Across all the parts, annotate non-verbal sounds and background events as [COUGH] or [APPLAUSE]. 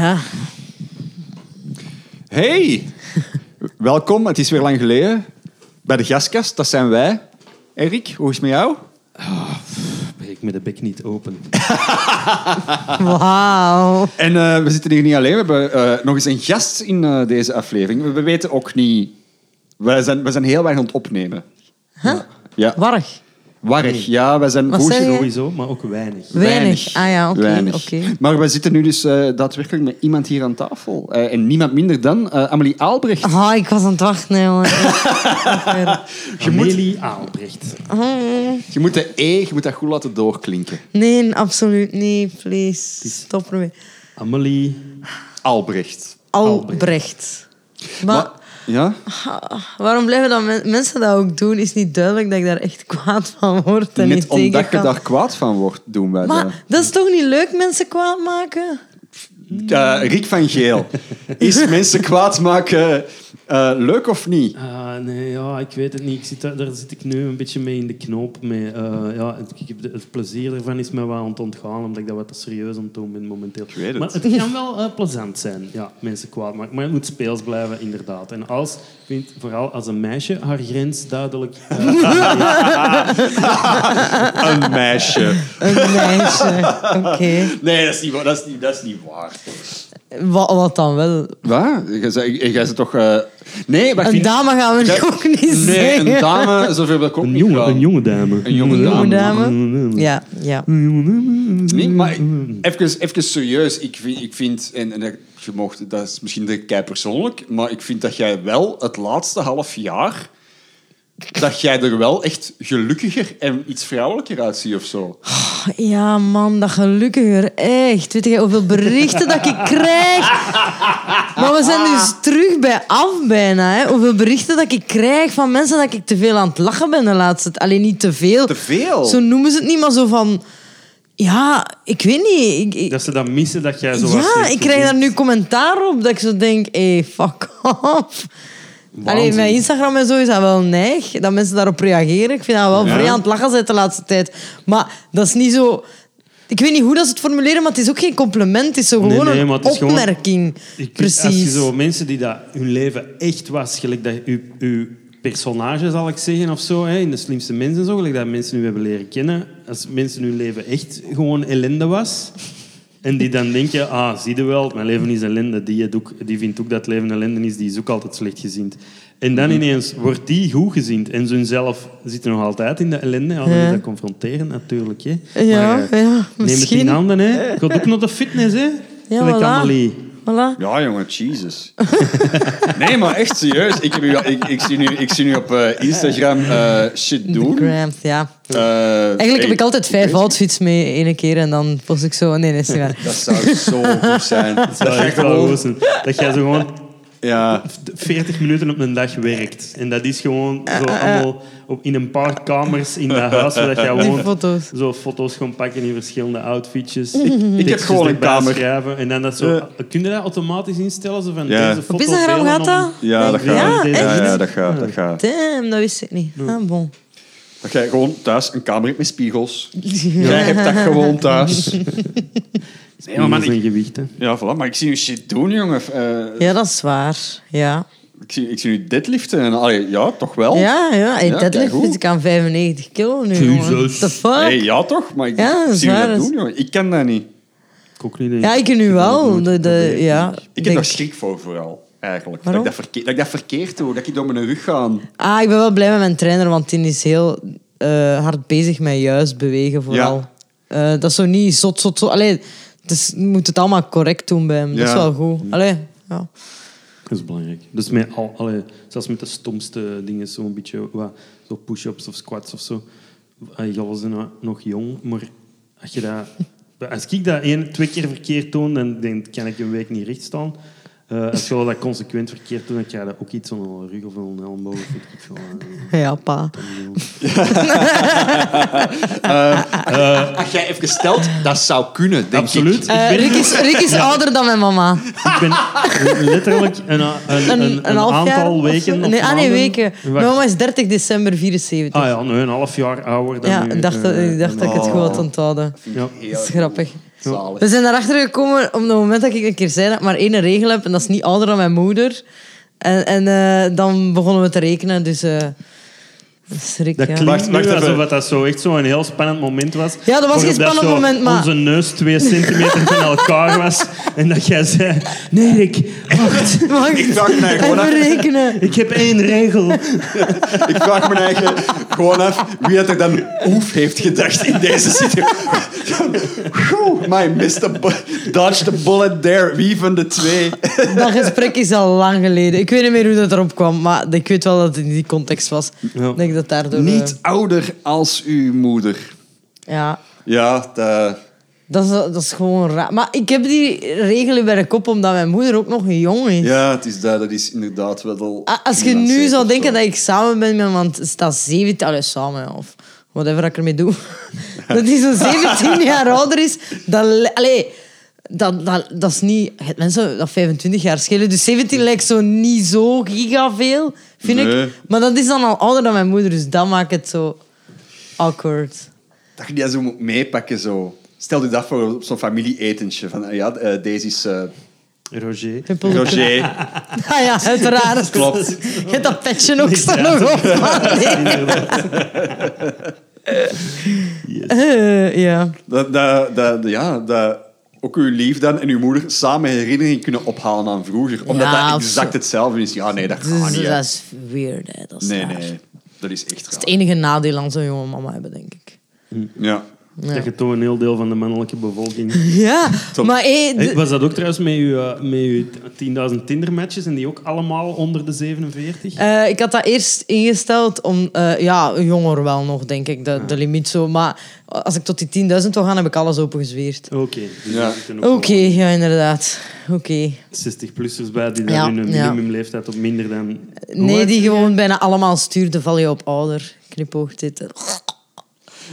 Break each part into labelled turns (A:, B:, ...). A: Ja,
B: Hey! Welkom, het is weer lang geleden. Bij de gastkast, dat zijn wij. Erik, hoe is het met jou?
C: Breek me de bek niet
B: [LAUGHS]
C: open.
A: wauw.
B: En eh, we zitten hier niet alleen, we hebben eh, nog eens een gast in eh, deze aflevering. We, we weten ook niet... Wij zijn, wij zijn heel weinig aan het opnemen.
A: Huh?
B: Ja,
A: Warrig.
B: warrig. Ja, wij zijn...
A: Wat
B: goed-
A: zei je?
C: Sowieso, maar ook weinig.
A: Weinig. Ah ja, oké.
B: Weinig.
A: oké.
B: Maar we zitten nu dus eh, daadwerkelijk met iemand hier aan tafel. Eh, en niemand minder dan eh, Amelie Aalbrecht.
A: Ah, ik was aan het wachten, jongen.
C: Amelie Aalbrecht.
A: Oh,
B: Je moet de E, je moet dat goed laten doorklinken.
A: nee, absoluut niet. Please. Stop ermee.
C: Amelie.
B: Aalbrecht.
A: Albrecht. Maar ah,
B: Ja?
A: waarom blijven dan men- mensen dat ook doen, is niet duidelijk dat ik daar echt kwaad van word. En
B: Net
A: niet tegen
B: omdat je
A: kan.
B: daar kwaad van wordt, doen wij dat.
A: Maar dat is toch niet leuk, mensen kwaad maken?
B: Eh, Riek van
A: [LAUGHS]
B: Geel. Is mensen kwaad maken eh, leuk of niet?
C: Ah, nee, ja, ik weet het niet. Ik zit daar, daar zit ik nu een beetje mee in de knoop. Mee. Eh, ja, het, ik heb de- het plezier ervan is me wel aan het ontgaan, omdat ik dat wat te serieus aan het doen ben momenteel.
B: weet het.
C: Maar het kan wel eh, plezant zijn, ja, mensen kwaad maken. Maar het moet speels blijven, inderdaad. En als, ik vind vooral als een meisje haar grens duidelijk...
B: [LAUGHS]
C: eh,
B: Een meisje.
A: Een meisje.
B: [LAUGHS]
A: Oké.
B: Nee, dat is niet, wa- dat is niet, dat is niet waar.
A: Wat, wat dan wel?
B: Waar? Jij zei- Jij zei toch... eh, Nee, maar ik
A: Een
B: vind-
A: dame gaan we
B: Dat-
A: ook niet
B: Nee,
A: zeggen.
B: een dame, zoveel dat ik ook
C: een,
B: niet
C: jonge,
B: wou.
C: een jonge dame.
B: Een jonge
A: Jonge
B: dame.
A: dame. Ja, ja.
B: Nee, maar even, even serieus. Ik vind, ik vind en, en dat- je mocht, dat is misschien de kei persoonlijk, maar ik vind dat jij wel het laatste half jaar dat jij er wel echt gelukkiger en iets vrouwelijker uitziet of zo.
A: Ja, man, dat gelukkiger. Echt. Weet je hoeveel berichten dat ik krijg? Maar we zijn dus terug bij af bijna. Hè. Hoeveel berichten dat ik krijg van mensen dat ik te veel aan het lachen ben de laatste tijd. Alleen niet te veel.
B: Te veel?
A: Zo noemen ze het niet, maar zo van... Ja, ik weet niet. Ik, ik-
C: Dat ze dat missen, dat jij zo wat
A: ja,
C: slecht
A: ik krijg daar
C: verdient.
A: nu commentaar op dat ik zo denk... Hé, hey, fuck off. Alleen mijn Instagram en zo is dat wel neig. Dat mensen daarop reageren. Ik vind dat wel
B: Ja.
A: vrij aan het lachen zijn de laatste tijd. Maar dat is niet zo... Ik weet niet hoe dat ze het formuleren, maar het is ook geen compliment. Het is zo
C: Nee,
A: gewoon
C: nee, maar
A: een
C: het is gewoon-
A: opmerking.
C: Ik- Als je
A: Precies.
C: zo mensen die dat hun leven echt was, gelijk dat uw, uw personage, zal ik zeggen, of zo, hè, in de slimste mensen en zo, gelijk dat mensen nu hebben leren kennen, als mensen hun leven echt gewoon ellende was, en die dan denken, [LAUGHS] ah, zie je wel, mijn leven is ellende, die, het ook, die vindt ook dat het leven ellende is, die is ook altijd slecht gezind. En
A: Mhm.
C: dan ineens wordt die goed gezind en ze zelf zitten nog altijd in de ellende. Ja, dan
A: Ja.
C: is dat confronteren natuurlijk. Hè.
A: Ja,
C: Maar, eh,
A: ja,
C: Neem het in
A: misschien.
C: handen. Hè. Gaat ook nog de fitness, hè. Gelijk
A: voilà.
C: Amelie.
A: Voilà.
B: Ja, jongen, Jesus. [LAUGHS] nee, maar echt serieus. Ik, heb u, ik, ik, zie, nu, ik zie nu op eh, Instagram eh, shit doen.
A: Grampt, ja.
B: Eh,
A: Eigenlijk
B: hey,
A: heb ik altijd vijf outfits mee, ene keer. En dan post ik zo... Nee, nee, is niet waar.
B: Dat zou zo goed zijn.
A: [LAUGHS]
B: Dat
C: Dat
B: jij
C: echt wel
B: gewoon...
C: goed zijn. Dat jij zo gewoon
B: Ja.
C: 40 minuten op een dag werkt. En dat is gewoon
A: Eh,
C: zo allemaal op, in een paar kamers in dat huis. Zodat jij
A: Die
C: gewoon
A: foto's.
C: zo foto's gewoon pakken in verschillende outfitjes.
B: Ik heb
C: tekstjes
B: gewoon een
C: erbij
B: kamer.
C: Schrijven, en dan dat zo,
B: Ja.
C: kun je dat automatisch instellen? Zo van
B: Ja.
C: deze
A: Op
C: foto
A: Instagram
C: delen
A: gaat
C: om-
A: dat?
B: Ja, dat
C: Ja,
B: gaat.
A: echt?
B: Ja, ja, dat gaat. Dat gaat.
A: Damn, dat wist ik niet. Ah, bon.
B: Dat jij gewoon thuis een kamer hebt met spiegels. Jij hebt dat gewoon
A: [LAUGHS]
B: thuis. Nee, maar,
C: Spiegels
B: man, ik-
C: en gewichten.
B: ja, voilà, maar ik zie nu shit doen, jongen. Eh,
A: Ja, dat is waar. Ja.
B: ik, zie, ik zie nu deadliften. En, allee, ja, toch wel?
A: Ja, ja. Hey,
B: Ja,
A: deadlift
B: keigoed.
A: zit ik aan 95 kilo nu. jongen. What the fuck?
B: Nee, ja, toch? Maar ik
A: Ja, dat is
B: zie je
A: waar,
B: dat
A: dat is-
B: doen, jongen. Ik ken dat niet.
C: Ik ook niet. denk
A: Ja, ik nu wel.
C: nooit
A: De, de,
C: geprobeerd.
A: ja,
B: Ik heb
A: denk-
B: daar schrik voor, vooral. Eigenlijk. Dat ik
A: Waarom?
B: dat, verkeer, dat ik dat verkeerd doe. Dat ik door mijn rug ga.
A: Ah, ik ben wel blij met mijn trainer, want die is heel eh, hard bezig met juist bewegen vooral.
B: Ja.
A: Eh, dat is zo niet zot, zot, zot. Allee, dus je moet het allemaal correct doen bij hem. Dat is
B: Ja.
A: wel goed. Allee, ja.
C: Dat is belangrijk. Dus met al, alle, zelfs met de stomste dingen, zo'n beetje wat, zo push-ups of squats of zo. Eh, Ja, we zijn nou nog jong, maar als, je dat, [LAUGHS] als ik dat één, twee keer verkeerd doe, dan denk, ik, kan ik een week niet recht staan. Eh, als je wel dat consequent verkeerd doet, dan krijg je dat ook iets aan een rug of aan een elleboog. Of weet ik veel. Eh,
A: ja, pa.
B: Als jij even stelt, dat zou kunnen, denk
C: Absoluut. Ik,
A: Eh,
C: ben,
A: Rick is, Rick is ouder dan mijn mama.
C: ik ben letterlijk een, een, een,
A: [LAUGHS] Een,
C: een,
A: een half jaar
C: aantal
A: of
C: weken.
A: zo.
C: of
A: nee, ah, nee,
C: maanden-
A: weken. Mijn
C: Wacht.
A: mama is 30 december 74.
C: Ah ja, nu een half jaar ouder dan
A: ja,
C: u,
A: ik dacht, dat-
C: eh,
A: ik dacht
C: dan
A: dat ik het
C: u.
A: goed had onthouden.
C: Ja.
A: Dat is grappig.
B: Zalig.
A: We zijn daarachter gekomen op het moment dat ik een keer zei dat ik maar één regel heb en dat is niet ouder dan mijn moeder. En, en eh, dan begonnen we te rekenen, dus... eh, schrik,
C: Dat
A: ja.
C: klinkt
B: Wacht, wacht
C: nu
B: even.
C: alsof dat zo echt zo'n heel spannend moment was.
A: Ja, dat was geen
C: Waarop
A: spannend
C: zo
A: moment, maar-
C: Onze neus twee centimeter van elkaar
A: [LAUGHS]
C: was. En dat jij zei... Nee, Rick, wacht.
A: Mag
B: Ik vraag mij gewoon
A: even
B: af-
A: rekenen?
C: Ik heb één regel.
B: Ik vraag me eigenlijk gewoon af wie dat er dan oef heeft gedacht in deze situatie. My missed the bu- dodged the bullet there. Wie van de twee?
A: Dat gesprek is al lang geleden. Ik weet niet meer hoe dat erop kwam, maar ik weet wel dat het in die context was.
C: Ja.
A: Ik denk dat daardoor... eh,
B: Niet ouder als uw moeder.
A: ja.
B: Ja, dat...
A: Dat is, dat is gewoon raar. Maar ik heb die regelen bij de kop omdat mijn moeder ook nog jong is.
B: ja het is, dat, dat is inderdaad wel...
A: A- Ah, Als je nu zou denken dat ik samen ben met iemand, staat 17, allee, samen ja, of whatever ik ermee
B: [LAUGHS]
A: doe, dat die zo'n 17 jaar ouder is, dat, li- allee, dat, dat, dat is niet. je hebt mensen dat 25 jaar schelen, dus 17 lijkt zo niet zo giga veel, vind
B: Nee.
A: ik. Maar dat is dan al ouder dan mijn moeder, dus dat maakt het zo awkward.
B: Dat je die zo moet meepakken, zo. Stel je dat voor op zo'n familie-etentje. Van, eh, ja, eh, deze is eh,
C: [LAUGHS] Roger.
A: Huppel.
B: Roger.
A: [LAUGHS] Ah ja, uiteraard.
B: Klopt.
A: Je hebt dat petje ook
C: Nee,
A: zo
C: ja.
A: nog op. maar nee.
B: [LAUGHS]
A: Eh, [LAUGHS] ja.
B: Dat, dat, dat, ja, dat ook uw lief dan en uw moeder samen herinneringen kunnen ophalen aan vroeger. Omdat
A: Ja,
B: dat
A: of
B: exact
A: zo.
B: hetzelfde is. Ja, nee, dat
A: Dus
B: gaat niet. hè.
A: dat is weird, hè. Dat is
B: Nee,
A: raar.
B: nee. Dat is echt
A: Het
B: raar.
A: enige nadeel aan zo'n jonge mama hebben, denk ik.
B: Ja.
C: Dat je toch een heel deel van de mannelijke bevolking...
A: Ja,
B: Tom.
A: maar eh, hey,
C: Hey,
A: d-
C: was dat ook trouwens met uw, eh, met uw 10.000 Tinder-matches en die ook allemaal onder de 47?
A: eh, ik had dat eerst ingesteld om... eh, ja, jonger wel nog, denk ik, de, de limiet zo. Maar als ik tot die 10.000 wil gaan, heb ik alles opengezweerd.
C: Oké. dus
B: Ja.
C: er zitten ook
A: Oké,
C: wel
A: ja, inderdaad. Oké.
C: 60-plussers bij die dan
A: Ja,
C: hun
A: ja.
C: minimumleeftijd op minder dan... Hoe
A: Nee,
C: oud
A: die
C: is die?
A: gewoon bijna allemaal stuurde, val je op ouder. Knipoogt dit.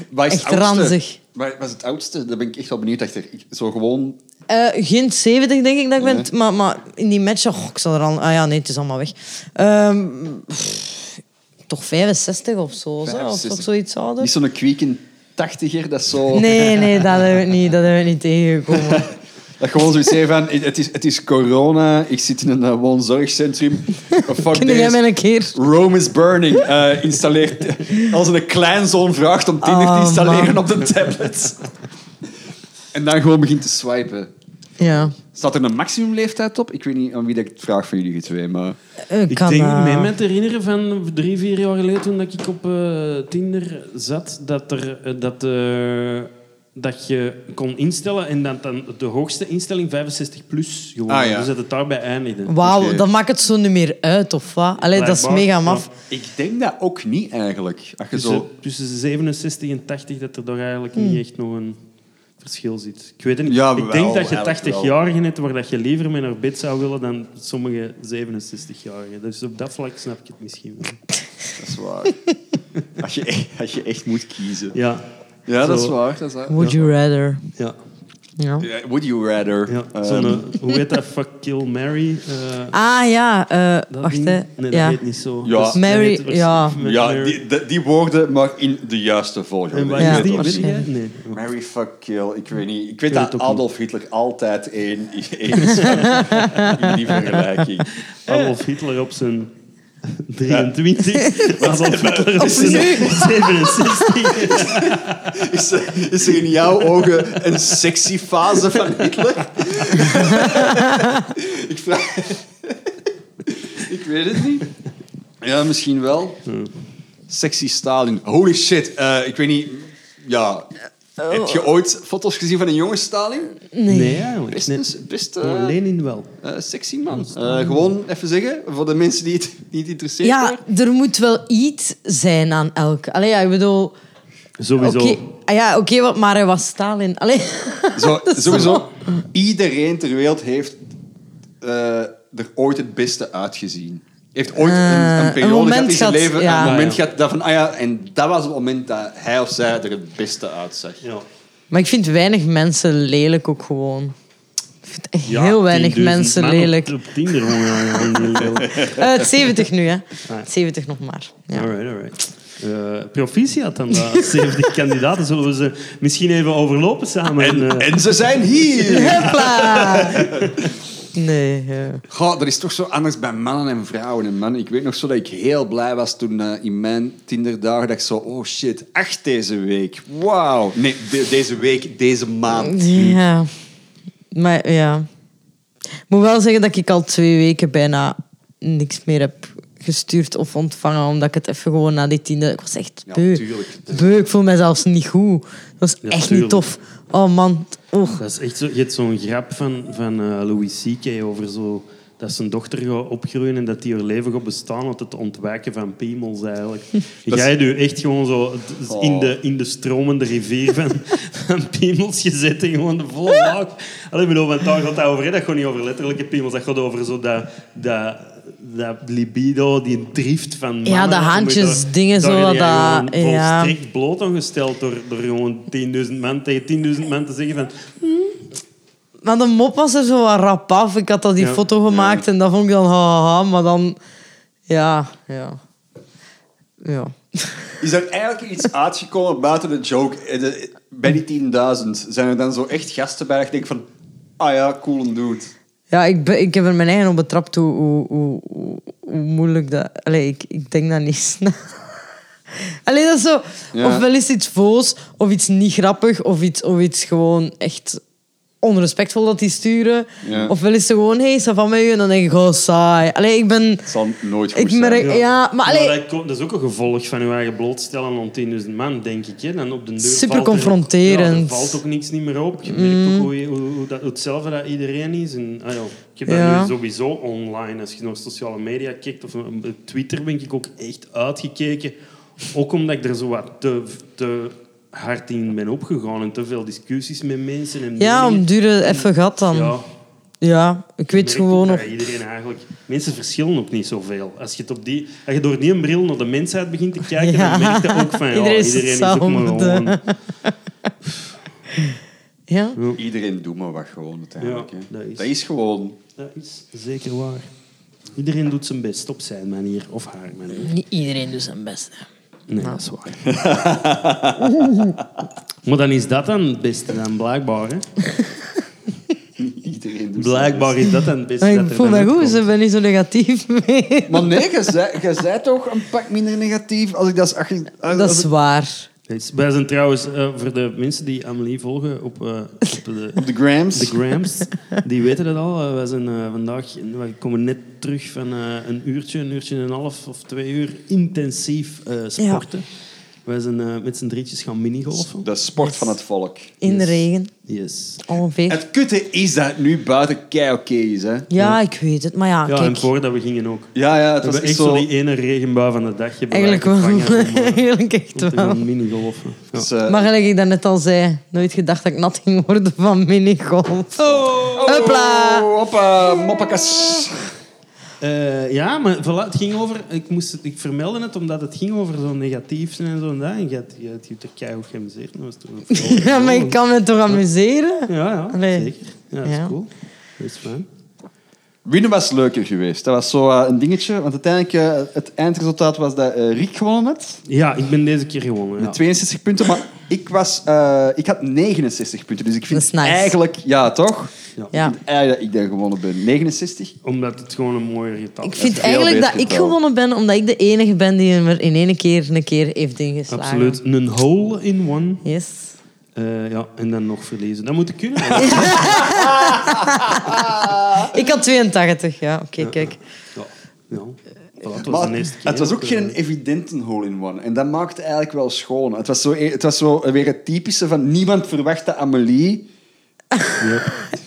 B: Wat is
A: Echt
B: het oudste?
A: ranzig.
B: Wat was het oudste? Daar ben ik echt wel benieuwd achter. Ik- Zo gewoon...
A: Eh, geen 70 denk ik dat ik ben, maar, maar in die match, oh, ik zal er al. Ah ja, nee, het is allemaal weg. Ehm, pff, toch 65 of zo, zo, of
B: 65.
A: toch zoiets ouder?
B: Niet zo'n kwieken tachtiger, dat is zo...
A: Nee, nee, dat hebben we niet, dat hebben we niet
C: [LAUGHS]
A: tegengekomen.
B: Dat gewoon zoiets zeggen van, het is, het is corona, ik zit in een eh,
A: [LAUGHS]
B: woonzorgcentrum. Oh, Fuck
A: Kun jij
B: this.
A: mij een keer?
B: Rome is burning. eh, installeert, [LAUGHS] als een kleinzoon vraagt om Tinder
A: Oh,
B: te installeren
A: man.
B: op de tablet. Ah, [LAUGHS] En dan gewoon begint te swipen.
A: Ja,
B: Staat er een maximumleeftijd op? Ik weet niet aan wie dat ik het vraag van jullie twee, maar...
A: Eh,
C: Ik
A: kan
C: denk
A: eh,
C: mij met herinneren van drie, vier jaar geleden toen dat ik op eh, Tinder zat, dat, er, eh, dat, eh, dat je kon instellen en dat dan de hoogste instelling 65 plus geworden.
B: Ah, ja.
C: Dus dat het daarbij eindigde.
A: Wauw,
B: Oké.
A: dat maakt het zo niet meer uit, of wat? Allee, dat is
C: Blijkbaar,
A: mega
C: ja.
A: maf.
B: Ik denk dat ook niet, eigenlijk. Als je
C: Tussen,
B: zo...
C: tussen 67 en 80 dat er toch eigenlijk
A: Hmm.
C: niet echt nog een verschil zit. Ik weet het niet.
B: Ja,
C: ik
B: wel,
C: denk dat je
B: eigenlijk
C: 80-jarigen hebt waar dat je liever mee naar bed zou willen dan sommige 67-jarigen. Dus op dat vlak snap ik het misschien wel.
B: Dat is waar. [LAUGHS] als, je, echt- als je echt moet kiezen. Ja,
C: Ja,
B: dat
C: Zo.
B: is waar. Dat is waar.
A: Would you rather?
C: ja.
A: Ja.
B: Ja, Would you rather?
C: ja.
B: Ehm,
C: Zo'n, eh, hoe heet dat? Fuck, kill, Mary. eh,
A: Ah ja, eh,
C: dat
A: wacht
C: ding?
A: hè.
C: Nee, dat
A: ja.
C: heet niet zo.
B: Ja.
C: dat
A: Mary,
C: heet waarsch-
A: ja.
B: ja,
C: Mary.
B: die, die- die woorden, maar in de juiste volgorde.
C: En waar
A: Ja,
C: is die? Weet
A: waarschijnlijk.
C: jij? Nee.
B: Mary fuck kill, ik weet niet. Ik weet
C: Ik weet
B: dat
C: het ook niet.
B: Adolf Hitler altijd één één is [LAUGHS] van- in die vergelijking.
C: Adolf Hitler op zijn
B: [LAUGHS]
C: 23. [LAUGHS] Adolf Hitler op zijn
A: Opnieuw.
C: 67.
B: Is er, is er in jouw ogen een sexy fase van Hitler? [LAUGHS] ik vraag... ik weet het niet. Ja, misschien wel. Sexy Stalin. Holy shit, eh, ik weet niet... Ja... Heb je ooit foto's gezien van een jonge Stalin?
C: Nee, eigenlijk.
B: Best,
C: Nee. Oh,
B: best eh,
C: Maar Lenin wel.
B: eh, sexy man. Eh, gewoon even zeggen, voor de mensen die het niet interesseert.
A: Ja, er moet wel iets zijn aan elk. Allee, ja, ik bedoel...
C: Sowieso.
A: Oké, ah ja, oké, wat- maar hij was Stalin. Allee.
B: [LAUGHS]
A: [LAUGHS]
B: Zo,
A: Dat is
B: sowieso,
A: wel-
B: iedereen ter wereld heeft eh, er ooit het beste uitgezien. Heeft ooit een,
A: Eh,
B: een periode
A: een
B: gehad in
A: moment
B: zijn
A: gehad,
B: leven,
A: ja.
B: een moment
C: Ja, ja.
B: gehad dat van, ah ja, en dat was het moment dat hij of zij er het beste uitzag.
C: Ja.
A: Maar ik vind weinig mensen lelijk ook gewoon. Ik vind echt
C: Ja,
A: heel weinig
C: 10.000
A: mensen
C: man [LAUGHS]
A: lelijk.
C: Op, op Tinder wonen.
A: [LAUGHS] Eh, het 70 nu, hè. Het 70 nog maar. Ja.
C: Alright, alright. eh, proficiat aan de 70 [LAUGHS] kandidaten. Zullen we ze misschien even overlopen samen? En, eh,
B: En ze zijn hier!
A: Hopla. Nee, ja.
B: Goh, er is toch zo anders bij mannen en vrouwen. En mannen. Ik weet nog zo dat ik heel blij was toen eh, in mijn Tinderdagen dacht ik zo, oh shit, acht deze week. Wauw. Nee, de- deze week, deze maand.
A: Ja. Maar ja. Ik moet wel zeggen dat ik al twee weken bijna niks meer heb gestuurd of ontvangen, omdat ik het even gewoon na die tiende... Ik was echt
B: Ja,
A: beu.
B: tuurlijk.
A: beu. Ik voel mij zelfs niet goed. Dat was
C: Ja,
A: echt
C: tuurlijk.
A: niet tof. Oh man. Och.
C: Dat is echt zo, je hebt zo'n grap van, van eh, Louis C.K. over zo, dat zijn dochter gaat opgroeien en dat die haar leven gaat bestaan uit het ontwijken van piemels eigenlijk. Jij nu echt gewoon zo het-
B: Oh.
C: in, de, in de stromende rivier van, van piemels gezet en gewoon de volle laag. Allee, ik bedoel, want daar gaat dat over. hè. Dat gaat niet over letterlijke piemels, dat gaat over zo dat... dat dat libido, die drift van mannen.
A: de handjes,
C: Daar-
A: dingen
C: daar
A: zo,
C: heb jij
A: dat-
C: gewoon
A: ja.
C: volstrekt echt bloot aangesteld door, door gewoon 10.000 man tegen 10.000 man te zeggen van...
A: Maar de mop was er zo wat rap af. Ik had dat die
C: Ja.
A: foto gemaakt en dat vond ik dan haha, maar dan... Ja, ja. Ja.
B: Is er eigenlijk iets uitgekomen buiten de joke? Eh, de- Bij die 10.000 zijn er dan zo echt gasten bij dat ik denk van, ah ja, cool een dude.
A: Ja, ik, ben, ik heb er mijn eigen op betrapt hoe, hoe, hoe, hoe- hoe moeilijk dat... Allee, ik, ik denk dat niet [LAUGHS] snel. Allee, dat is zo...
B: Ja.
A: Ofwel is iets voos, of iets niet grappig, of iets, of iets gewoon echt onrespectvol dat die sturen.
B: Ja.
A: Ofwel is ze gewoon, hé, hey, is dat van met u? En dan denk ik, oh, saai. Allee, ik ben...
B: Het zal nooit goed
A: Ik
B: zijn.
A: merk... Ja, maar allee...
C: dat, komt- dat is ook een gevolg van je eigen blootstellen aan 10.000 man, denk ik. Hè. Dan op de deur
A: Super
C: valt er ook-
A: confronterend.
C: ja, er valt ook niks niet meer op. Je merkt
A: Mm.
C: ook hoe, je- hoe, hoe dat, hoe hetzelfde dat iedereen is. En, ah ja, ik heb
A: Ja.
C: dat nu sowieso online. Als je naar sociale media kijkt of op Twitter ben ik ook echt uitgekeken. Ook omdat ik er zo wat te, te hard in ben opgegaan en te veel discussies met mensen. En
A: Ja, om
C: meningen.
A: dure even gat dan. Ja,
C: Ja,
A: ik weet
C: merkt
A: gewoon
C: ook
A: nog.
C: dat iedereen eigenlijk... Mensen verschillen ook niet zoveel. Als je, het op die, als je door die bril naar de mensheid begint te kijken,
A: Ja.
C: dan merk je ook
A: [LAUGHS]
C: van... Ja,
A: Iedereen
C: iedereen
A: is
C: is, ook maar gewoon...
A: hetzelfde. Ja?
B: Iedereen doet maar wat gewoon uiteindelijk.
C: Ja,
B: hè.
C: dat is-
B: gewoon... [LAUGHS]
C: Dat is zeker waar. Iedereen doet zijn best op zijn manier of haar manier.
A: Niet iedereen doet zijn best. hè.
C: Nee, dat is waar. [LAUGHS] maar dan is dat dan het beste dan, blijkbaar. Hè?
B: Iedereen doet zijn
C: Blijkbaar is dat dan het beste.
A: Maar
C: dat
A: ik
C: er
A: voel
C: dan
A: me goed,
C: uitkomt.
A: ze ben niet zo negatief [LAUGHS] mee.
B: best. Maar nee, je zei- je zei toch een pak minder negatief als ik dat... Als, ik- als,
A: Dat is waar.
C: Dus Wij zijn trouwens, eh, voor de mensen die Amelie volgen op, eh, op de,
A: [LAUGHS]
B: Op de grams.
C: de Grams, die weten dat al. Eh, wij zijn eh, vandaag, we komen net terug van eh, een uurtje, een uurtje en een half of twee uur intensief eh, sporten. Wij zijn eh, met z'n drietjes gaan minigolfen.
B: de sport van het volk.
A: In de
C: Yes.
A: regen,
C: Yes.
A: ongeveer.
B: Het kutte is dat het nu buiten kei oké is, hè.
A: Ja, ik weet het. Maar ja,
C: Ja, en
A: Ah, kijk.
C: voordat we gingen ook.
B: Ja, ja, het
C: We
B: was
C: hebben
B: echt
C: echt zo
B: zo...
C: die ene regenbui van de dag.
A: Eigenlijk wel.
C: Om,
A: Eigenlijk [LAUGHS] echt
C: eh, om te
A: wel.
C: gaan minigolfen. Ja.
B: Dus, eh,
A: Maar gelijk ik daarnet al zei, nooit gedacht dat ik nat ging worden van minigolf.
C: Oh.
A: Hopla!
B: Oh, hoppa, moppakas.
C: Eh, ja, maar voilà, het ging over... Ik, moest het, ik vermeldde het omdat het ging over zo'n negatief zijn en zo. En dat. En je had je, had je er keihard geamuseerd. Dat was toen een verhaal.
A: [LAUGHS] Ja, maar ik kan me toch amuseren?
C: Ja, ja
A: Allee.
C: zeker. Ja, dat is
A: Ja.
C: cool. Dat is fijn.
B: Winnen was leuker geweest. Dat was zo eh, een dingetje. Want uiteindelijk, eh, het eindresultaat was dat eh Riek gewonnen had.
C: Ja, ik ben deze keer gewonnen. Ja.
B: Met 62 punten. Maar ik, was, eh, ik had 69 punten. Dus ik vind
A: Dat is nice.
B: eigenlijk... Ja, toch?
C: Ja.
A: Ja.
B: Ik vind eigenlijk dat ik daar gewonnen ben. 69?
C: Omdat het gewoon een mooier getal
A: Ik
C: is.
A: vind
B: Veel
A: eigenlijk dat
B: beter
A: ik
B: getal.
A: gewonnen ben, omdat ik de enige ben die hem er in één keer een keer heeft ingeslagen.
C: Absoluut. Een hole in one.
A: Yes.
C: Eh, ja, en dan nog verliezen. Dat moet ik
A: [LAUGHS]
C: kunnen.
A: Ik had 82, ja. Oké, kijk.
C: Ja, ja. Voilà, het was
B: Maar
C: de eerste keer.
B: het was ook
C: Eh,
B: geen evidente hole-in-one. En dat maakt het eigenlijk wel schoon. Het was, zo, e-, het was zo weer het typische van... Niemand verwachtte Amelie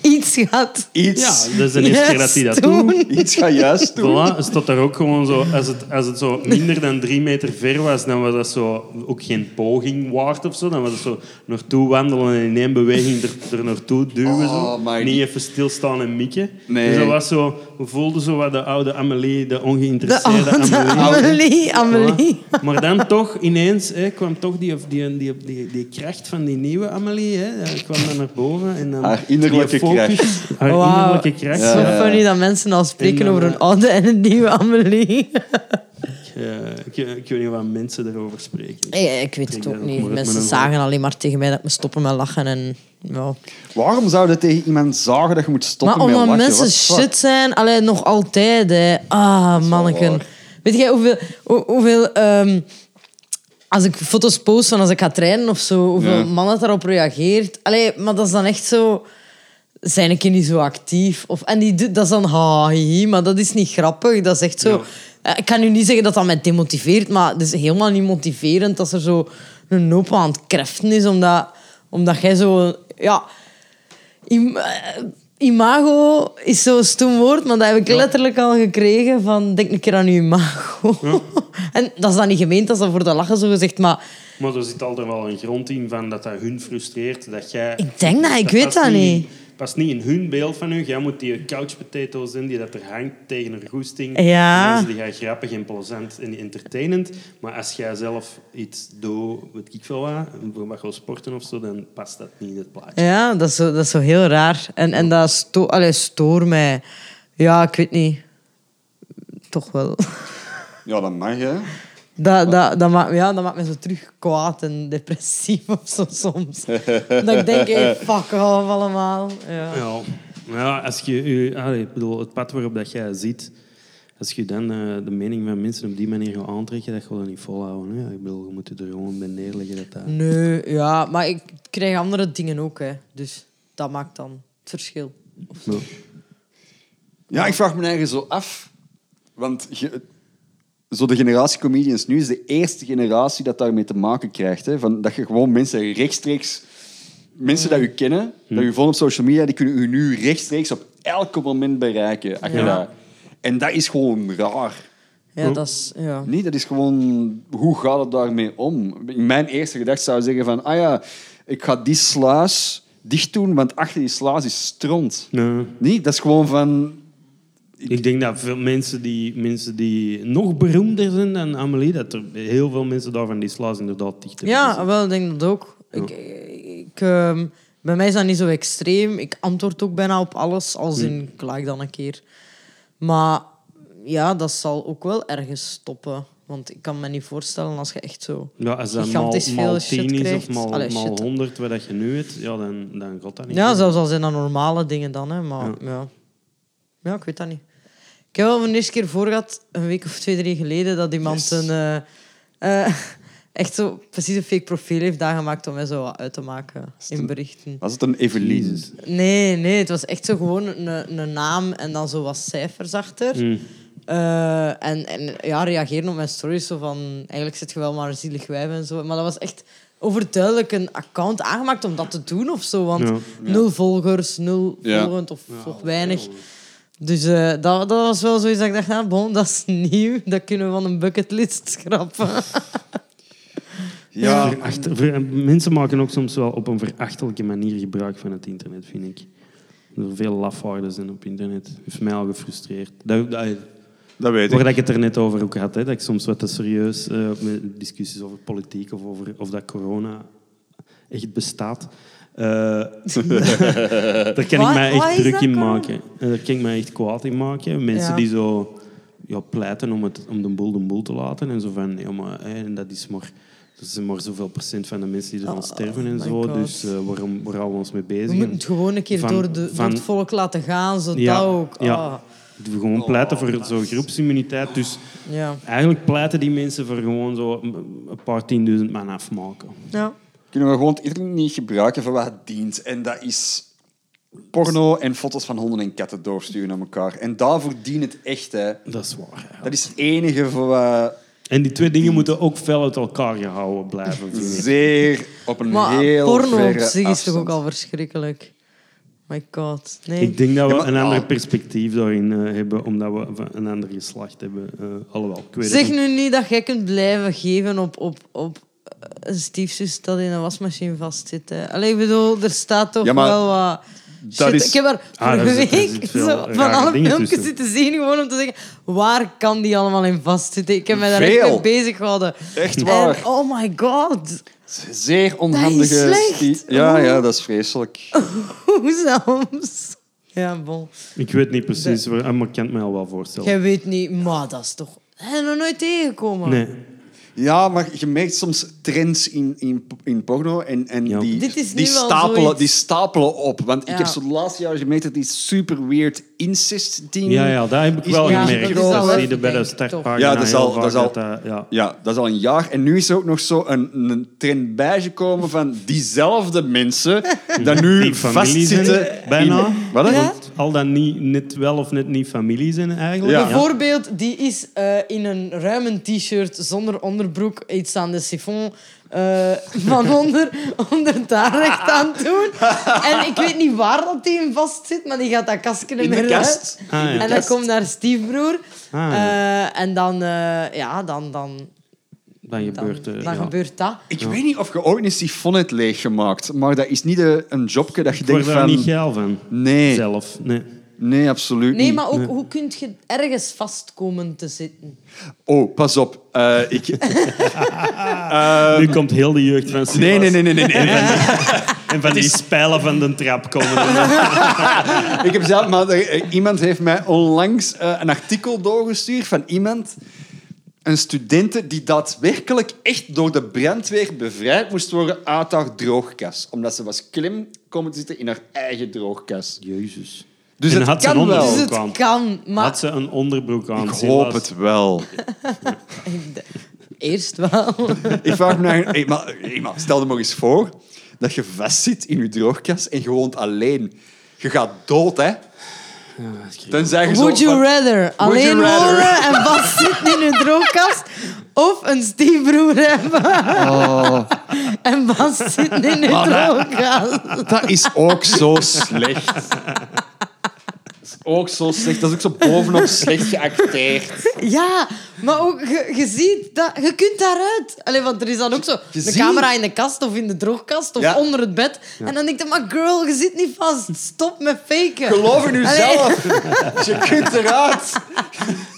A: Iets gaat.
B: iets...
C: Ja, dat is de eerste
A: Yes,
C: keer dat hij dat
A: doen.
C: doet.
B: [LAUGHS] Iets gaat juist doen.
C: [LAUGHS] Voilà, is dat daar ook gewoon zo... Als het, als het zo minder dan drie meter ver was, dan was dat zo ook geen poging waard of zo. Dan was het zo naartoe wandelen en in één beweging er, er naartoe duwen.
B: Oh,
C: Zo.
B: maar die-
C: Niet even stilstaan en mikken.
B: Nee.
C: Dus dat was zo... We voelden zo wat de oude Amelie, de
A: De
C: ongeïnteresseerde
A: oude
C: Amelie.
A: Amelie. Amelie.
C: Voilà. Maar dan toch, ineens hè, kwam toch die, die, die, die, die kracht van die nieuwe Amelie hè, eh, kwam dan naar boven. En dan
B: Haar innerlijke
C: die focus, Haar
A: Wauw.
C: innerlijke kracht.
A: Zo
C: ja.
A: funny dat mensen al spreken
C: En,
A: over
C: eh,
A: een oude en een nieuwe Amelie.
C: eh, ik, ik weet niet wat mensen erover spreken.
A: Eh, Ik weet het
C: Ik
A: ook
C: denk
A: niet.
C: dat-
A: Mensen zagen alleen maar tegen mij dat ik me stoppen met lachen. En, ja.
B: Waarom zou je tegen iemand zagen dat je moet stoppen
A: Maar omdat
B: met lachen?
A: mensen
B: What the fuck?
A: shit zijn, alleen nog altijd. Hè. Ah, manneken.
B: waar.
A: Weet jij hoeveel... hoe- hoeveel ehm, als ik foto's post van als ik ga trainen of zo, hoeveel
B: Ja.
A: mannen daarop reageert. Allee, maar dat is dan echt zo... Zijn ik hier niet zo actief? Of, en die, doet- dat is dan ha, hihi, maar dat is niet grappig. Dat is echt zo... Eh, Ik kan nu niet zeggen dat dat mij demotiveert, maar het is helemaal niet motiverend als er zo een hoop aan het kreften is, omdat, omdat jij zo... Ja, Im- eh, imago is zo'n stoem woord, maar dat heb ik letterlijk al gekregen van denk een keer aan uw imago. [LAUGHS] en dat is dan niet gemeend, dat is dan voor de lachen zo gezegd, maar
C: Maar er zit altijd wel een grond in van dat dat hun frustreert. Dat jij,
A: ik denk dat, ik weet
C: past
A: dat niet.
C: Past niet in hun beeld van u. Jij moet die couch potatoes zijn die dat er hangt tegen een goesting.
A: Ja.
C: Mensen die jij grappig en plezant en entertainend. Maar als jij zelf iets doet, weet ik veel wat, bijvoorbeeld wil sporten of zo, dan past dat niet in het plaatje.
A: Ja, dat is zo, dat is zo heel raar. En, en dat sto allee, stoor mij. Ja, ik weet niet. Toch wel. [LAUGHS]
B: Ja, dat mag, hè.
A: Dat, dat, dat, maakt, ja, dat maakt me zo terug kwaad en depressief of zo soms. dat ik denk, hey, fuck off allemaal. Ja.
C: Ja, maar ja als je, je allee, ik bedoel, het pad waarop dat jij ziet, als je dan eh, de mening van mensen op die manier gaat aantrekken, dat je dat niet volhouden. Hè? Ik bedoel, je moet je er gewoon bij neerleggen. Dat dat...
A: Nee, ja, maar ik krijg andere dingen ook, hè. Dus dat maakt dan het verschil.
C: Ja.
B: Ja, ik vraag me eigen zo af. Want je- zo de generatie comedians nu is de eerste generatie dat daarmee te maken krijgt. Hè? Van, dat je gewoon mensen rechtstreeks... Mensen die u kennen, dat u volgen op social media, die kunnen u nu rechtstreeks op elk moment bereiken. Als je dat- En dat is gewoon raar.
A: Ja, dat is... Ja.
B: Nee, dat is gewoon... Hoe gaat het daarmee om? In mijn eerste gedachte zou ik zeggen van... Ah ja, ik ga die sluis dicht doen, want achter die sluis is stront.
C: Nee.
B: Nee, dat is gewoon van...
C: Ik denk dat veel mensen die, mensen die nog beroemder zijn dan Amelie, dat er heel veel mensen daarvan die slaas inderdaad dicht hebben
A: Ja,
C: gezet.
A: wel, ik denk dat ook. Ik, ik, ehm, bij mij is dat niet zo extreem. Ik antwoord ook bijna op alles, als
C: Hm.
A: in ik like dan een keer. Maar ja, dat zal ook wel ergens stoppen. Want ik kan me niet voorstellen als je echt zo...
C: Ja, als dat mal,
A: Gigantisch veel
C: mal
A: shit
C: 10 is of
A: krijgt.
C: mal,
A: Allee,
C: mal
A: shit.
C: 100, wat dat je nu hebt, ja, dan, dan gaat dat niet.
A: Ja, zelfs al zijn dat normale dingen dan, hè. Maar ja. Ja, ik weet dat niet. Ik heb wel mijn eerste keer voor gehad, een week of twee, drie geleden, dat iemand een... eh, [LAUGHS] eh, echt zo precies een fake profiel heeft aangemaakt om mij zo wat uit te maken in berichten.
B: Was het een Evelien?
A: Nee, nee, het was echt zo gewoon een, een naam en dan zo wat cijfers achter.
C: Mm.
A: Eh, en, en ja, reageren op mijn stories zo van... Eigenlijk zit je wel maar een zielig wijf en zo. Maar dat was echt overduidelijk een account aangemaakt om dat te doen of zo. Want
C: Ja.
A: nul volgers, nul
B: Ja.
A: volgend of of weinig. Dus eh, dat, dat was wel zoiets dat ik dacht, nou, bon, dat is nieuw. Dat kunnen we van een bucketlist schrappen. [LAUGHS]
B: Ja.
C: Veracht- ver- mensen maken ook soms wel op een verachtelijke manier gebruik van het internet, vind ik. Er veel lafaarden zijn op internet. heeft mij al gefrustreerd. Dat, dat,
B: Dat weet
C: Waar dat ik het er net over ook had, hè, dat ik soms wat te serieus eh, met discussies over politiek of over of dat corona echt bestaat. Eh, [LAUGHS] daar kan
A: Wat-
C: ik mij
A: wat is
C: echt druk
A: dat,
C: in
A: corona?
C: maken. En daar kan ik mij echt kwaad in maken. Mensen
A: Ja.
C: die zo ja, pleiten om, het, om de boel de boel te laten. En zo van, ja, maar hè, en dat is maar... Dat zijn maar zoveel procent van de mensen die ervan
A: Oh,
C: sterven
A: my
C: en zo.
A: God.
C: Dus eh, waarom, waar houden we ons mee bezig?
A: We moeten
C: En
A: het gewoon een keer
C: van-
A: door, de, door
C: van-
A: het volk laten gaan. Zo
C: ja,
A: dat ook.
C: Ja.
A: Ah,
C: Gewoon
B: Oh,
C: pleiten voor zo'n groepsimmuniteit. Dus
A: ja.
C: Eigenlijk pleiten die mensen voor gewoon zo een een paar tienduizend man afmaken.
A: ja.
B: Kunnen we gewoon het internet niet gebruiken voor wat het dient. En dat is porno en foto's van honden en katten doorsturen naar elkaar. En daarvoor dient het echt, hè.
C: Dat is waar. ja.
B: Dat is het enige voor wat
C: En die twee dingen moeten ook fel uit elkaar gehouden blijven. vind ik.
B: zeer op een
A: Maar
B: heel
A: porno op
B: verre
A: zich is toch
B: afstand.
A: ook al verschrikkelijk. My god. Nee.
C: Ik denk dat we
B: Ja, maar-
C: een ander
B: Ah.
C: perspectief daarin eh, hebben, omdat we van een ander geslacht hebben. Eh, alhoewel, ik weet het
A: zeg
C: niet.
A: nu niet dat jij kunt blijven geven op, op, op eh, een stiefzus dat in een wasmachine vastzit. Hè. Allee, ik bedoel, er staat toch
B: Ja, maar
A: wel wat...
B: dat
A: shit.
B: is-
A: Ik heb daar
C: Ah, daar
A: vorige
C: zit- daar zit
A: week
C: veel
A: zo van
C: rare
A: alle
C: dingen
A: filmpjes
C: tussen.
A: zitten zien, gewoon om te zeggen, waar kan die allemaal in vastzitten? Ik heb mij daar echt
B: Veel.
A: mee bezig gehouden.
B: Echt
A: En,
B: waar.
A: oh my god. [LAUGHS]
B: Zeer onhandige...
A: Dat is
B: sti-
A: slecht.
B: Ja,
A: Oh.
B: ja, dat is vreselijk.
A: Hoe soms? Ja, bon.
C: Ik weet niet precies, waar, maar ik ah, kan het me al wel voorstellen.
A: Jij weet niet, maar dat is toch Dat heb je nog nooit tegengekomen.
C: Nee.
B: Ja, maar je merkt soms trends in, in, in porno en, en
C: Ja.
B: die,
A: Dit is nu
B: die,
A: wel
B: stapelen,
A: zoiets.
B: die stapelen op. Want
A: Ja.
B: ik heb zo de laatste jaren gemerkt dat die super weird incest dingen...
C: Ja, ja, dat heb ik
B: is
C: wel
B: nu
A: Ja,
C: gemerkt.
A: dat is al
C: Dat
A: wel
C: zie je bij de
A: denk ik, toch.
C: startpagina
B: Ja, dat is
C: heel
B: al-
C: vaak
B: dat is al-
C: dat, eh, ja.
B: Ja, dat is al een jaar. En nu is er ook nog zo een, een trend bijgekomen van diezelfde
C: [LAUGHS]
B: mensen dat nu
C: Die familie zijn,
B: vastzitten...
C: bijna.
B: in- Wat?
A: Ja.
C: Al dan niet net wel of net niet familie zijn eigenlijk.
B: Ja.
A: Bijvoorbeeld, die is eh, in een ruime t-shirt zonder onderbroek iets aan de siphon eh,
B: [LAUGHS]
A: van onder, onder daar recht aan doen. En ik weet niet waar dat die in vast zit, maar die gaat dat kastje
B: In de
A: eruit.
B: kast.
C: Ah, ja.
A: En dan komt daar stiefbroer.
C: Ah, ja.
A: Eh, en dan, eh, ja, dan, dan,
C: Dan
A: dan,
C: gebeurt er.
A: dan
C: ja.
A: gebeurt dat.
B: Ik weet niet of je ooit een sifon hebt leeggemaakt, maar dat is niet eh, een jobje dat je
C: Ik word
B: denkt
C: daar
B: van...
C: niet geil van.
B: Nee,
C: Zelf. Nee.
B: nee, absoluut
A: Nee,
B: niet.
A: maar ook hoe kun je ergens vast komen te zitten?
B: Oh, pas op. Eh, ik...
C: nu komt heel de jeugd van Silas.
B: Ehm, Nee, nee, nee, nee, nee. nee.
C: En van die spijlen van de
B: [LAUGHS]
C: trap komen.
B: ik heb zelf, maar er- eh, iemand heeft mij onlangs eh, een artikel doorgestuurd van iemand, een studente die daadwerkelijk echt door de brandweer bevrijd moest worden uit haar droogkas, omdat ze was klim komen te zitten in haar eigen droogkas.
C: Jezus.
B: Dus
C: En
B: het
C: had ze
B: kan
C: een
B: wel.
C: onderbroek
A: Dus
C: kan.
A: het kan, maar
C: Had ze een onderbroek aan?
B: Ik
C: Silas?
B: hoop het wel.
A: [LAUGHS] eerst wel.
B: [LAUGHS] Ik vraag me naar... Hey, maar, hey, maar stel je maar eens voor dat je vastzit in je droogkas en je woont alleen. Je gaat dood, hè? Tenzij je zo...
A: Would you
B: van-
A: rather alleen
B: you rather?
A: wonen
B: [LAUGHS]
A: en vastzitten in een droogkast of een stiefbroer hebben
B: Oh.
A: en vastzitten in een droogkast?
B: Dat is ook zo slecht. Dat is ook zo slecht. Dat is ook zo bovenop slecht geacteerd.
A: Ja, maar ook, je, je ziet dat, je kunt daaruit. Alleen want er is dan ook zo
B: Je
A: de
B: ziet-
A: camera in de kast of in de droogkast of
B: Ja.
A: onder het bed. En dan denk je, maar girl, je zit niet vast. Stop met faken.
B: Geloof in
A: Allee.
B: jezelf. Je kunt eruit.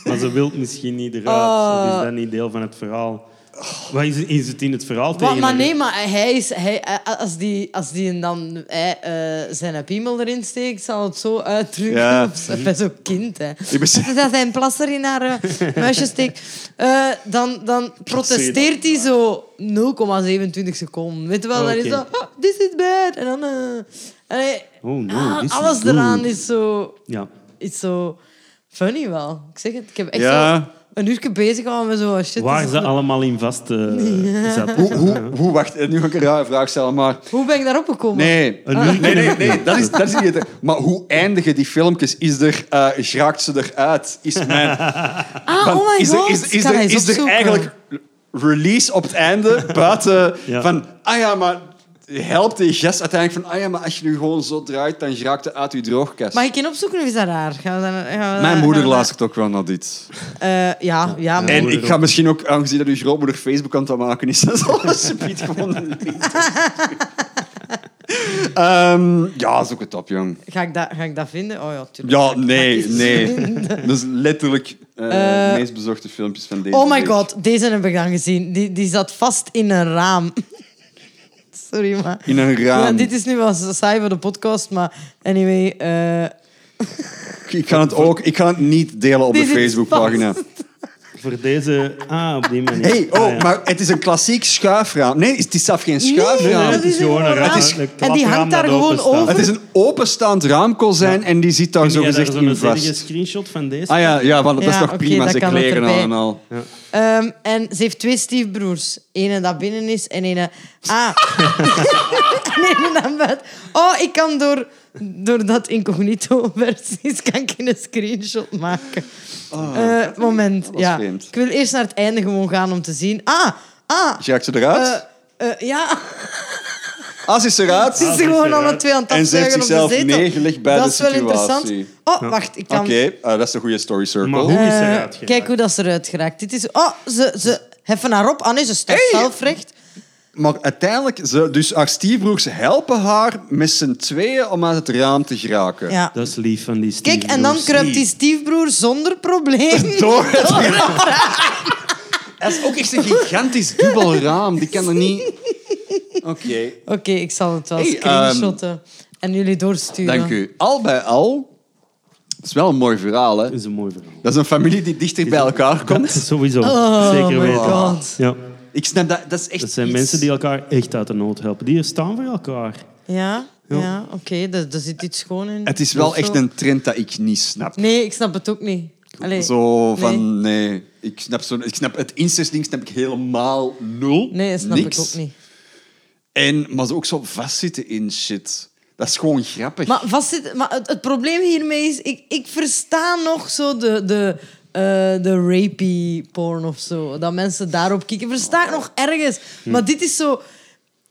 C: Maar ze wil misschien niet eruit.
A: Oh.
C: Of is dat niet deel van het verhaal? Wat is, is het in het verhaal
A: Maar,
C: tegen?
A: maar
C: haar?
A: nee, maar hij is, hij, eh, als die, als die dan hij, eh, zijn piemel erin steekt, zal het zo uitdrukken.
B: Ja.
A: Ja. Bij zo'n
C: [LAUGHS]
A: kind, hè.
B: Ik besef-
A: Dat hij een plas er in haar eh, muisje steekt. Eh, dan, dan protesteert hij zo 0,27 seconden. Weet je wel, dan is
C: Oké.
A: dat... "Ah, this is bad. En dan... eh, en hij-
C: Oh, no,
A: ah,
C: this is
A: alles
C: good.
A: eraan is zo...
C: Ja.
A: Is zo funny wel. Ik zeg het, ik heb echt
B: Ja.
A: zo een uur bezig gehouden met zo... Shit, Dus
C: Waar
A: is-
C: ze allemaal in vast eh, zaten.
B: Hoe, hoe, hoe, wacht, eh, nu ga ik een rare vraag stellen, maar...
A: Hoe ben ik daarop gekomen?
B: Nee.
C: Een uur
B: Ah. Nee, nee, nee, dat is, dat is niet het. Maar hoe eindigen die filmpjes? Is er, eh raakt ze eruit? Is mijn,
A: Ah,
B: van,
A: oh my
B: is,
A: god.
B: er, is, is,
A: Kan
B: er,
A: hij eens
B: is er
A: opzoeken?
B: eigenlijk release op het einde buiten
C: Ja.
B: van, ah ja, maar helpt die gast uiteindelijk van, ah ja, maar als je nu gewoon zo draait, dan raakt het uit je droogkast.
A: Mag ik in opzoeken of is dat raar? Gaan we dan, gaan we
B: Mijn
A: dan-
B: moeder
A: gaan we dan-
B: luistert ook wel naar dit.
A: Eh, ja, ja. Maar...
B: En
C: moeder
B: ik ga
C: ook.
B: misschien ook, aangezien dat uw grootmoeder Facebook aan het maken is, [LAUGHS] dat zal alsjeblieft gewoon een link doorsturen. Ehm, ja, zoek het op, jong.
A: Ga, ik dat, ga ik dat vinden? Oh ja, tuurlijk.
B: Ja,
A: is
B: nee,
A: het
B: nee. Dat is letterlijk eh
A: Eh,
B: de meest bezochte filmpjes van deze
A: Oh my
B: week.
A: god, deze heb ik dan gezien. Die, die zat vast in een raam. [LAUGHS] Sorry, maar...
B: In een raam.
A: Ja, dit is nu wel saai voor de podcast, maar anyway... eh,
B: Ik kan het ook ik kan het niet delen op
A: Die
B: de
A: zit
B: Facebookpagina.
C: Voor deze... Ah, op die manier.
B: hey, oh,
C: Ah, ja.
B: maar het is een klassiek schuifraam. Nee, het is zelf geen
A: nee,
B: schuifraam.
C: nee,
A: dat
C: het is gewoon een raam.
A: raam.
C: Het is een
A: En die
C: klapraam
A: hangt daar
C: dat
A: gewoon
C: openstaat.
A: over.
B: Het is een openstaand raamkozijn en die zit daar
C: Kun
B: zo
C: jij daar
B: gezegd
C: zo'n
B: in
C: zonnige
B: vast.
C: screenshot van deze?
B: Ah ja, ja want dat is
A: Ja,
B: toch
A: oké,
B: prima,
A: dat
B: ze
A: kan het
B: kleren
A: erbij.
B: aan en al.
A: Ehm, en ze heeft twee stiefbroers. Ene dat binnen is en ene... Ah. [LAUGHS] en ene dat buiten. Oh, ik kan door, door dat incognito [LAUGHS] versies kan ik een screenshot maken. Eh, moment,
B: Oh. was
A: ja.
B: vreemd.
A: Ik wil eerst naar het einde gewoon gaan om te zien. Ah, ah.
B: Raakt ze eruit?
A: eh, eh, [LAUGHS] ja,
B: Als Ah, is ze
A: ze
B: eruit?
A: is gewoon alle twee aan het
B: En ze heeft
A: afzuigen op de
B: zichzelf
A: zetel.
B: neergelegd bij
A: dat
B: de
A: is wel interessant.
B: situatie.
A: Oh, wacht, ik
B: Oké,
A: kan...
B: eh, dat is een goede story
C: Maar
B: circle.
C: hoe is
A: Eh,
C: hij uitgeraakt?
A: kijk hoe dat ze eruit geraakt. Dit is... Oh, ze, ze heffen haar op. Ah nee, ze staat
B: Hey.
A: zelf recht.
B: Maar uiteindelijk, ze, dus haar stiefbroers helpen haar met z'n tweeën om uit het raam te geraken.
A: Ja.
C: Dat is lief van die Steve
A: Kijk, en dan
C: Jobs.
A: kruipt die stiefbroer zonder probleem.
B: [LAUGHS] Door het
A: [LAUGHS]
B: raam. Dat is ook echt een gigantisch dubbel raam. Die kan er niet... Oké.
A: Oké, ik zal het wel
B: Hey,
A: screenshotten en jullie doorsturen.
B: Dank u. Al bij al Dat is wel een mooi verhaal, hè?
C: Dat is een mooi
A: [LAUGHS]
C: verhaal.
B: Dat is een familie die dichter bij elkaar komt.
C: [LAUGHS] Sowieso,
A: Oh
C: zeker
A: my
C: weten.
A: God.
C: Ja.
B: Ik snap dat. Dat is echt
C: Dat zijn
B: iets-
C: mensen die elkaar echt uit de nood helpen. Die er staan voor elkaar.
A: Ja,
C: Ja.
A: ja. oké, daar, daar zit iets schoon in.
B: Het is wel
A: Of zo.
B: echt een trend dat ik niet snap.
A: Nee, ik snap het ook niet. Allee,
B: Zo van, nee. Ik, snap zo, ik snap het incestding snap ik helemaal nul.
A: Nee, dat snap
B: Niks.
A: ik ook niet.
B: En, maar ze ook zo vastzitten in shit. Dat is gewoon grappig.
A: Maar, vastzit, maar het, het probleem hiermee is, ik, ik versta nog zo de, de, eh, de rapey porn of zo. Dat mensen daarop kikken. Versta ik nog ergens. Maar
B: Hmm.
A: dit is zo...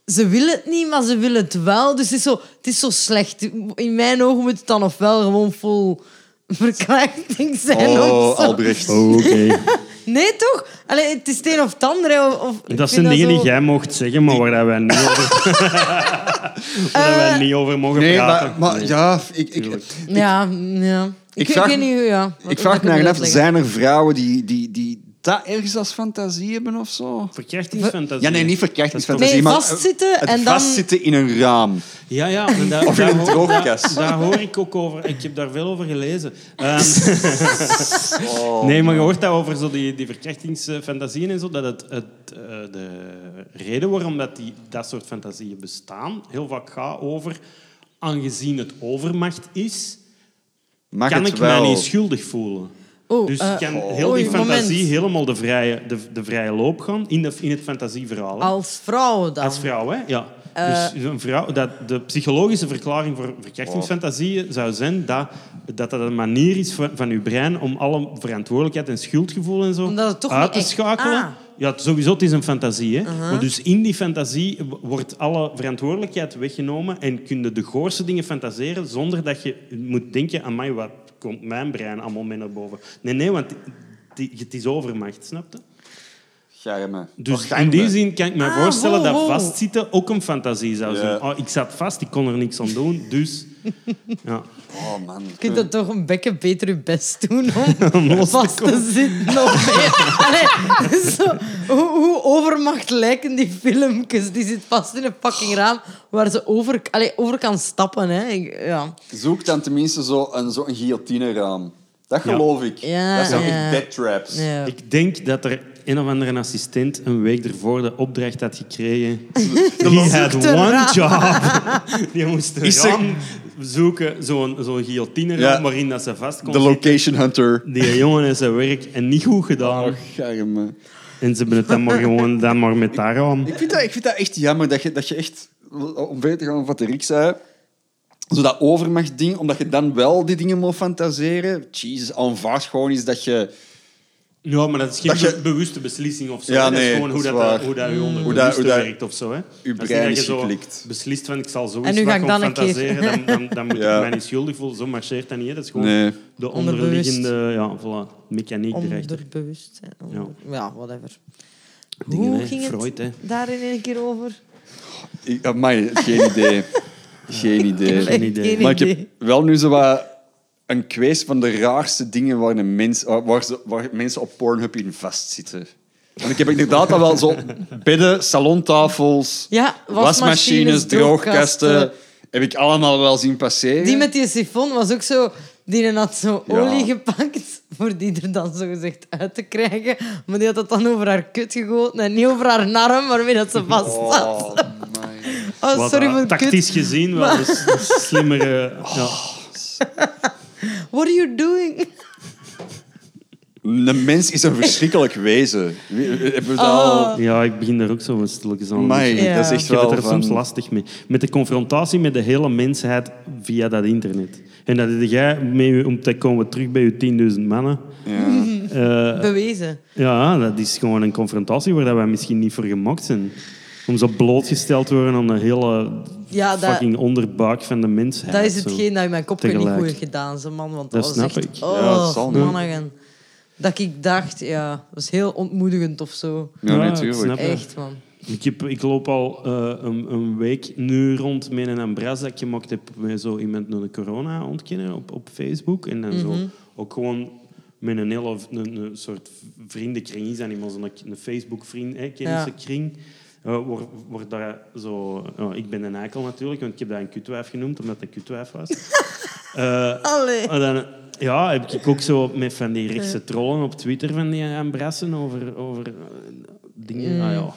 A: Ze willen het niet, maar ze willen het wel. Dus het is zo, het is zo slecht. In mijn ogen moet het dan ofwel gewoon vol verkrachting zijn.
B: oh,
A: of zo.
B: Albrecht.
C: Oké.
A: [LAUGHS]
C: [LAUGHS]
A: Nee, toch? Allee, het is het een of het ander. hè, Of, of- ik vind
C: Dat zijn dingen
A: zo-
C: die jij mocht zeggen, maar waar dat wij niet over,
A: [LAUGHS]
C: [LAUGHS] waar dat
A: Eh,
C: wij niet over mogen
B: Nee,
C: praten.
B: maar, maar
C: Nee.
B: ja, ik, ik,
C: Tuurlijk.
A: Ja, ja. Ik,
B: Ik vraag-
A: weet niet hoe- ja, wat-
B: ik
A: hoe
B: vraag
A: dat
B: me
A: ik
B: eigenlijk
A: moet
B: af,
A: uitleggen.
B: zijn er vrouwen die, die, die dat ergens als fantasie hebben of zo?
C: Verkrachtingsfantasie.
B: Ja, nee, niet verkrachtingsfantasie,
A: Nee,
B: maar
A: vastzitten
B: het
A: en dan-
B: vastzitten in een
A: [LAUGHS]
B: raam.
C: Ja, ja. en daar,
B: Of in
C: daar
B: een
C: hoor-
B: droogkast.
C: Daar hoor ik ook over. Ik heb daar veel over gelezen.
B: [LAUGHS]
C: Ehm,
B: Oh,
C: nee,
B: eh,
C: maar je hoort daar over zo die, die verkrachtingsfantasieën en zo. Dat het, het, eh, de reden waarom dat, die, dat soort fantasieën bestaan heel vaak gaat over... Aangezien het overmacht is,
B: Mag
C: kan
B: het
C: ik
B: wel?
C: mij niet schuldig voelen.
A: Oh,
C: dus
A: eh,
C: kan
A: oh.
C: heel die
A: Oei,
C: fantasie
A: moment.
C: helemaal de vrije, de, de vrije loop gaan in, de, in het fantasieverhaal. hè.
A: Als vrouw dan.
C: Als vrouw, hè? Ja. dus
A: Eh,
C: een vrouw, dat de psychologische verklaring voor
A: Oh.
C: verkrachtingsfantasieën zou zijn dat, dat dat een manier is van, van uw brein om alle verantwoordelijkheid en schuldgevoel en zo
A: Omdat het toch
C: uit
A: niet
C: te
A: echt-
C: schakelen.
A: Ah. Uh-huh.
C: Ja, het- sowieso, het is een fantasie. Hè? Maar dus in die fantasie w- wordt alle verantwoordelijkheid weggenomen en kun je de goorste dingen fantaseren zonder dat je moet denken aan mij, wat komt mijn brein allemaal mee naar boven. Nee, nee, want die- het is overmacht, snap je?
B: Germen.
C: Dus
B: Waarschijnlijk.
C: in die zin kan ik me
A: Ah,
C: voorstellen
A: wow,
C: dat
A: wow.
C: vastzitten ook een fantasie zou
B: Ja.
C: zijn. Oh, ik zat vast, ik kon er niks aan doen, dus...
B: [LAUGHS]
C: Ja.
B: Oh man.
A: Je kunt dat toch een bekken beter je best doen
C: [LAUGHS]
A: om, vast te zitten. Of meer. Allee, dus zo, hoe, hoe overmacht lijken die filmpjes? Die zit vast in een fucking raam waar ze over, allee, over kan stappen. Hè. Ik- ja.
B: Zoek dan tenminste zo'n een, zo een guillotine-raam. Dat geloof ik.
A: Ja,
B: dat zijn echt
A: ja.
B: dead traps.
A: Ja.
C: Ik denk dat er een of andere assistent een week ervoor de opdracht had
B: [LAUGHS]
C: gekregen.
A: Zoek
C: He had
A: de
C: one
A: raam.
C: job. Die moest een
B: Is er-
C: raam zoeken, zo'n zo'n guillotine
B: Ja.
C: waarin dat ze vast kon
B: De
C: zitten.
B: location hunter.
C: Die jongen heeft zijn werk en niet goed gedaan.
B: Oh, germe.
C: En ze hebben het dan maar gewoon dan maar met daar aan.
B: Ik vind, dat, ik vind dat echt jammer dat je, dat je echt, om verder te gaan op wat Rick zei, zo dat overmachtding, omdat je dan wel die dingen moet fantaseren. Jezus, aanvaard gewoon is dat je...
C: Ja, maar dat is geen
B: Dat je-
C: be- bewuste beslissing of zo.
B: Ja,
C: hè. dat
B: nee,
C: is gewoon hoe
B: dat
C: dat,
B: is waar.
C: hoe dat
A: Mm.
C: je onder
B: Hoe dat- hoe dat-
C: werkt of zo. Hè.
B: uw
C: Dat
B: brein is
C: niet dat je zo
B: geklikt.
C: beslist van ik zal zo
A: En
C: eens
A: nu
C: wat
A: ga ik
C: gaan
A: dan een keer.
C: fantaseren, dan, dan, dan moet
B: [LAUGHS] Ja.
C: ik mij niet schuldig voelen. Zo marcheert dat niet. hè. Dat is gewoon
B: Nee.
C: de
A: Onderbewust.
C: onderliggende ja, voilà, mechaniek erachter.
A: Onderbewustzijn. Onder...
C: Ja.
A: Ja. whatever.
C: Dingen,
A: Hoe
C: hè.
A: ging het
C: Freud, hè.
A: daar in één keer over?
B: Ik, ah, amai, geen idee.
C: [LAUGHS]
B: Geen idee.
A: Echt
C: idee.
A: geen
B: Maar ik heb
A: idee.
B: wel nu zo wat een quiz van de raarste dingen waar, een mens, waar, ze- waar mensen op Pornhub in vastzitten. Want ik heb inderdaad al
C: [LAUGHS]
B: wel zo bedden, salontafels,
A: Ja, wasmachines,
B: droogkasten,
A: droogkasten.
B: heb ik allemaal wel zien passeren.
A: Die met die sifon was ook zo... Die had zo
B: Ja.
A: olie gepakt voor die er dan zogezegd uit te krijgen. Maar die had dat dan over haar kut gegoten en niet over haar narm waarmee dat ze vast zat.
B: Oh, my.
A: Oh,
C: Wat,
A: sorry
C: eh,
A: voor de
C: tactisch
A: kut.
C: gezien wel
A: [LAUGHS]
C: een s- een slimmere... Ja.
A: What are you doing?
B: Een mens is een verschrikkelijk wezen. Wie- Hebben we dat al...
A: Oh.
C: ja, ik begin daar ook zo stilletjes aan.
B: Amai,
A: Ja.
B: dat is echt
C: Ik heb het
B: wel
C: er soms
B: van-
C: lastig mee. Met de confrontatie met de hele mensheid via dat internet. En dat deed jij mee, je- om te komen terug bij je 10.000 mannen.
B: Ja.
C: Eh,
A: Bewezen.
C: ja, dat is gewoon een confrontatie waar dat wij misschien niet voor gemaakt zijn. Om zo blootgesteld te worden aan de hele
A: Ja, dat-
C: fucking onderbuik van de mensheid.
A: Dat is
C: zo.
A: hetgeen dat in mijn kopje niet
C: tegelijk.
A: goed heeft gedaan, ze man. Want
C: Dat
A: dat, was
C: snap
A: echt...
C: ik.
A: Oh,
B: Ja, dat zal niet.
A: mannigen. Dat ik dacht, ja, dat was heel ontmoedigend of zo.
B: Ja,
C: Ja,
B: natuurlijk.
C: ik snap het.
A: Echt, man.
C: Ik, heb, ik loop al eh, een, een week nu rond met een ambras dat ik gemaakt heb met zo iemand naar de corona ontkennen op, op Facebook. En dan zo ook gewoon met een hele v- een, een soort vriendenkring is dat niet, maar zo'n k- een Facebook vriendenkennissenkring. eh wordt wordt daar zo... ja, ik ben een eikel natuurlijk, want ik heb dat een kutwijf genoemd, omdat het een kutwijf was. Eh,
A: Allee.
C: maar dan Ja, heb ik ook zo met van die rechtse trollen op Twitter van die aanbrassen over, over eh, dingen. Ah, ja.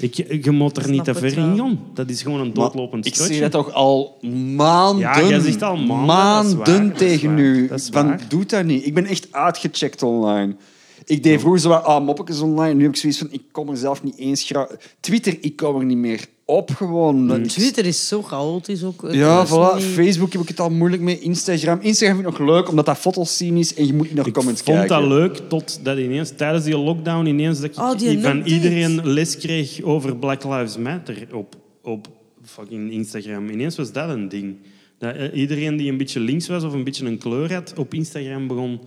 C: Ik, je moet er niet
A: Mm. Snap
C: te
A: het
C: ver
A: wel.
C: in gaan. Dat is gewoon een
B: Maar
C: doodlopend
B: Ik
C: strotje.
B: zie dat toch al maanden,
C: Ja, jij zegt al maanden, dat is waar, dat is
B: tegen
C: waar,
B: nu.
C: dat is
B: Van,
C: waar.
B: doe dat niet. Ik ben echt uitgecheckt online. Ik deed vroeger zo wat ah, moppetjes online. Nu heb ik zoiets van, ik kom er zelf niet eens... gra- Twitter, ik kom er niet meer op gewoon. Dat ik-
A: Twitter is zo chaotisch ook. Het
B: Ja,
A: is
B: voilà.
A: niet-
B: Facebook heb ik het al moeilijk mee. Instagram. Instagram vind ik nog leuk, omdat dat foto's zien is en je moet niet naar
C: Ik
B: comments
C: vond
B: kijken.
C: dat leuk, totdat ineens tijdens die lockdown ineens dat ik
A: Oh, die
C: van
A: updates.
C: iedereen les kreeg over Black Lives Matter op, op fucking Instagram. Ineens was dat een ding. Dat eh, iedereen die een beetje links was of een beetje een kleur had, op Instagram begon,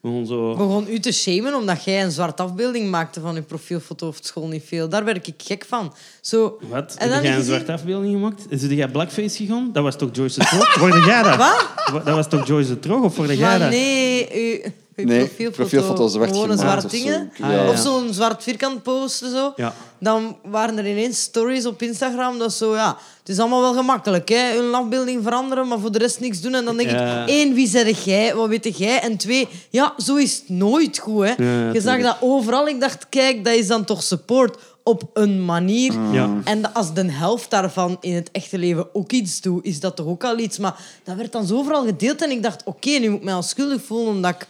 C: begon zo...
A: begon u te shamen omdat jij een zwart afbeelding maakte van je profielfoto of het school niet veel. Daar werd ik gek van. Zo,
C: Wat?
A: En
C: Heb
A: dan
C: jij een
A: is het-
C: zwarte afbeelding gemaakt? Is jij blackface gegaan? Dat was toch Joyce
A: [LAUGHS]
C: de Trog? Hoorde jij dat? Wat? Dat was toch Joyce de Trog? Of hoorde jij
A: Maar
C: dat?
A: nee, uw, uw
B: Nee,
A: profielfoto,
B: profielfoto zwart
A: gewoon een
B: gemaakt
A: zwart
B: of
A: ding.
B: zo. Ja.
A: Of zo'n zwart vierkant posten. Zo.
C: Ja.
A: Dan waren er ineens stories op Instagram. Dat is zo, ja, het is allemaal wel gemakkelijk. Hè? Hun afbeelding veranderen, maar voor de rest niks doen. En dan denk
C: Ja.
A: ik, één, wie zeg jij? Wat weet jij? En twee, ja, zo is het nooit goed. Hè?
C: Ja,
A: Je zag
C: tuurlijk.
A: dat overal. Ik dacht, kijk, dat is dan toch support op een manier.
C: Ja.
A: En als de helft daarvan in het echte leven ook iets doet, is dat toch ook al iets. Maar dat werd dan zo overal gedeeld en ik dacht, oké, nu moet ik mij al schuldig voelen omdat ik...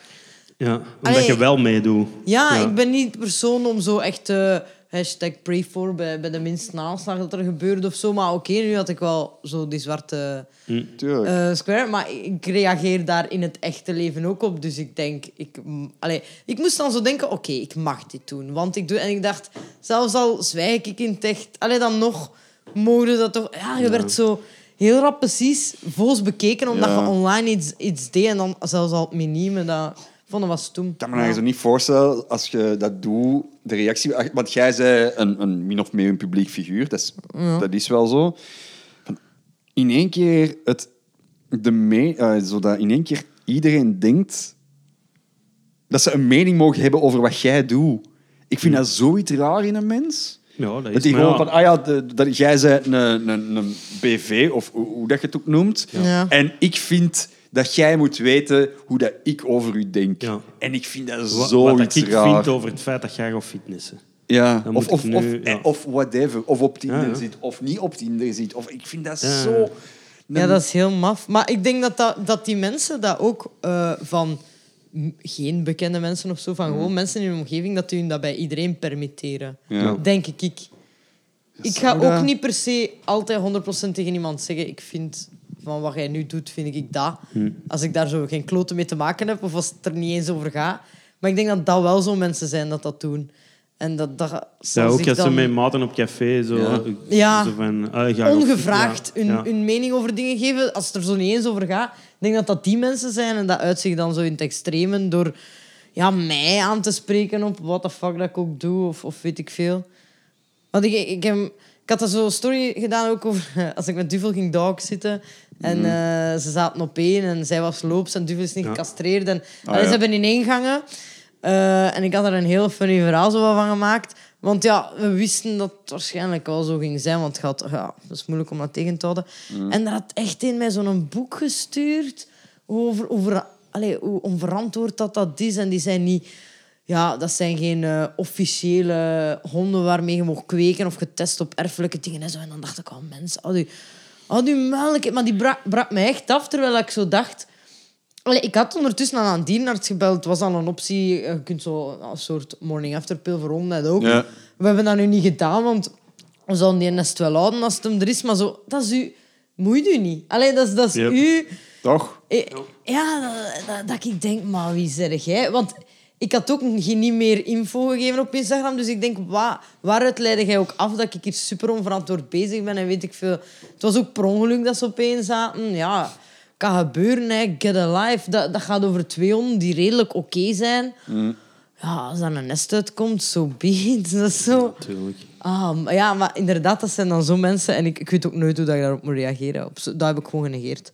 C: Ja, omdat
A: Allee.
C: je wel meedoet.
A: Ja, ik ben niet de persoon om zo echt... eh, hashtag pray for bij, bij de minste aanslag dat er gebeurde of zo. Maar oké, nu had ik wel zo die zwarte
B: Tuurlijk.
A: eh, square. Maar ik reageer daar in het echte leven ook op. Dus ik denk... Ik, mm, allee, ik moest dan zo denken, oké, ik mag dit doen. Want ik doe... En ik dacht, zelfs al zwijg ik in het echt... Allee, dan nog mogen dat toch... Ja, je werd zo heel rap precies voos bekeken. Omdat
B: Ja.
A: je online iets, iets deed. En dan zelfs al het minime. Dat vonden was toen.
B: Ik kan me je zo niet voorstellen, als je dat doet, de reactie... Want jij bent een, een min of meer een publiek figuur, dat is, dat is wel zo. Van, In één keer het... De me, eh, zodat in één keer iedereen denkt dat ze een mening mogen hebben over wat jij doet. Ik vind dat zoiets raar in een mens.
C: Ja, dat is
B: Dat die
C: maar
B: gewoon
C: ja.
B: van, ah ja, de- dat jij bent een, een, een BV, of hoe, hoe dat je het ook noemt.
A: Ja.
B: En ik vind dat jij moet weten hoe dat ik over u denk.
C: Ja.
B: En ik vind dat
C: Wa-
B: zoiets
C: Wat ik
B: raar.
C: vind over het feit dat jij gaat fitnessen.
B: ja.
C: dan
B: Of,
C: moet
B: of,
C: ik
B: of,
C: nu- ja.
B: eh, of whatever. Of op Tinder
C: Ja, ja.
B: zit, of niet op Tinder zit. Of, ik vind dat
C: Ja.
B: zo...
A: Ja, dat is heel maf. Maar ik denk dat, dat, dat die mensen dat ook eh, van m- geen bekende mensen of zo, van gewoon mensen in hun omgeving, dat die hun dat bij iedereen permitteren.
B: Ja.
A: Denk ik. ik. Ik ga
B: Zou dat-
A: ook niet per se altijd 100% tegen iemand zeggen, ik vind van wat jij nu doet, vind ik dat.
B: Hm.
A: Als ik daar zo geen kloten mee te maken heb of als het er niet eens over gaat. Maar ik denk dat dat wel zo mensen zijn dat dat doen. En dat, dat zal
C: Ja, ook
A: zich
C: als ze
A: dan-
C: met maten op café zo...
B: Ja.
A: Ja.
C: zo van, ah, ik ga gaan
A: ongevraagd
C: fitnessen.
A: hun,
C: Ja.
A: hun mening over dingen geven. Als het er zo niet eens over gaat, ik denk dat dat die mensen zijn. En dat uitzicht dan zo in het extreme door ja, mij aan te spreken op wat de fuck dat ik ook doe of, of weet ik veel. Want ik, ik, heb, ik had er zo'n story gedaan ook over [LAUGHS] als ik met Duvel ging dog zitten. En eh, ze zaten op één en zij was loops en Duvel is niet
C: Mm. Ja.
A: gecastreerd. En,
B: Ah,
A: allee,
B: ja.
A: Ze hebben ineengangen. Eh, en ik had er een heel funny verhaal zo wel van gemaakt. Want ja, we wisten dat het waarschijnlijk wel zo ging zijn. Want het, had, ja, het is moeilijk om dat tegen te houden. En daar had echt een mij zo'n boek gestuurd over, over allee, hoe onverantwoord dat dat is. En die zijn niet... Ja, dat zijn geen eh, officiële honden waarmee je mocht kweken of getest op erfelijke dingen en zo. En dan dacht ik, oh mensen, al die, al die muilijkheid. Maar die brak, brak mij echt af, terwijl ik zo dacht... Allee, ik had ondertussen al aan een dierenarts gebeld. Het was al een optie. Eh, Je kunt zo een soort morning after pill voor honden ook.
B: Ja.
A: We hebben dat nu niet gedaan, want we zouden die nest wel houden als het hem er is. Maar zo, dat is u... Moet u niet. Allee, dat is, dat is
C: Yep.
A: u...
B: Toch?
A: Eh, Ja, dat, dat, dat ik denk, maar wie zeg jij? Want ik had ook geen niet meer info gegeven op Instagram. Dus ik denk, wa, waaruit leidde jij ook af dat ik hier super onverantwoord bezig ben en weet ik veel. Het was ook per ongeluk dat ze opeens zaten. Ja, kan gebeuren, hè. get a life. Dat, dat gaat over twee honden die redelijk oké zijn. Ja, als daar een nest uitkomt, zo so be it. [LAUGHS] Dat is zo...
C: Tuurlijk.
A: Ah, maar ja, maar inderdaad, dat zijn dan zo mensen. En ik, ik weet ook nooit hoe dat ik daarop moet reageren. Op, zo- dat heb ik gewoon genegeerd.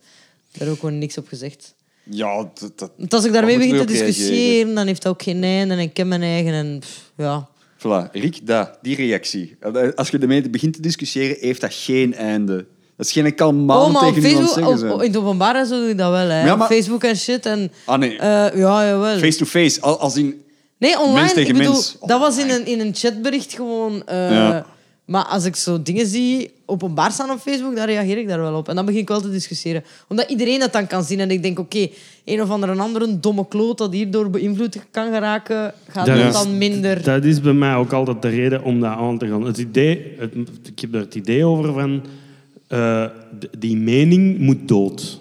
A: Daar heb ik gewoon niks op gezegd.
B: Ja, dat... dat-
A: Want als ik daarmee
B: Wat moet
A: begin te
B: je erop reageren?
A: discussiëren, dan heeft dat ook geen einde. En ik ken mijn eigen. En pff, ja.
B: Voilà, Riek, dat, die reactie. Als je ermee begint te discussiëren, heeft dat geen einde. Dat is geen kalmaal
A: Oh, maar op
B: tegen iemand
A: Facebook,
B: zeggen.
A: op,
B: zijn.
A: op- in het openbaar en zo doe ik dat wel. Hè.
B: Ja, maar-
A: Facebook en shit. En,
B: Ah, nee.
A: Eh, ja, jawel.
B: Face-to-face, al- als in...
A: Nee, online.
B: Mens tegen
A: ik bedoel,
B: mens.
A: Dat was in een, in een chatbericht gewoon. eh,
B: Ja.
A: Maar als ik zo dingen zie openbaar staan op Facebook, dan reageer ik daar wel op. En dan begin ik wel te discussiëren. Omdat iedereen dat dan kan zien. En ik denk, oké, een of andere, een andere domme kloot dat hierdoor beïnvloed kan geraken, gaat
C: Dat
A: dat
C: is-
A: dan minder...
C: Dat is bij mij ook altijd de reden om dat aan te gaan. Het idee, het, ik heb er het idee over van... eh, d- die mening moet dood.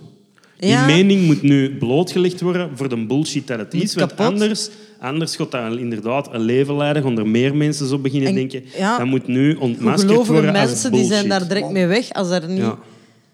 A: Ja.
C: Die mening moet nu blootgelegd worden voor de bullshit dat het
A: Moet
C: is. Want
A: kapot.
C: anders, anders gaat dat inderdaad een leven leiden. Gaan er meer mensen zo beginnen
A: En-
C: denken.
A: ja.
C: dat moet nu ontmaskerd
A: Gelovige
C: worden als
A: mensen die zijn
C: bullshit.
A: daar direct mee weg als er niet...
C: Ja.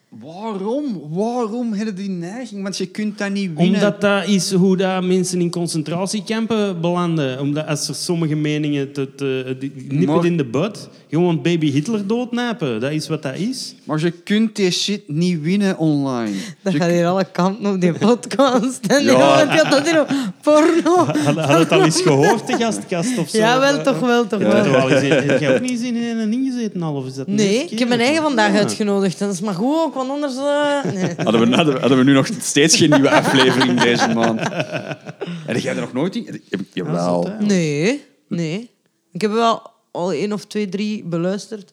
B: Waarom? Waarom hebben die neiging? Want je kunt dat niet winnen.
C: Omdat dat is hoe dat mensen in concentratiekampen belanden. Omdat als er sommige meningen te, te, die- die nippen
B: Maar-
C: in de bud, gewoon baby Hitler doodnapen. Dat is wat dat is.
B: Maar je kunt die shit niet winnen online.
A: [LAUGHS] Dat
B: Je-
A: gaat hier alle kanten op die podcast. En [LAUGHS]
B: Ja.
A: ja. die had dat hier op porno.
C: Had, had het al eens gehoord, de gastkast of [LAUGHS] zo?
A: Ja, wel, toch wel, toch
C: Heb je
A: wel.
C: er al eens in- heb jij ook niet eens in een ingezeten al? Of is dat de eerste
A: Nee,
C: keer?
A: ik heb mijn eigen vandaag
C: Ja.
A: uitgenodigd. En dat is maar goed ook, want anders... eh, nee.
B: [LAUGHS] Hadden we, hadden, we, hadden we nu nog steeds geen nieuwe aflevering deze [LAUGHS] maand. Heb jij er nog nooit in? Heb ik- Jawel.
C: zot, hè?
A: Nee, nee. Ik heb wel al één of twee, drie beluisterd.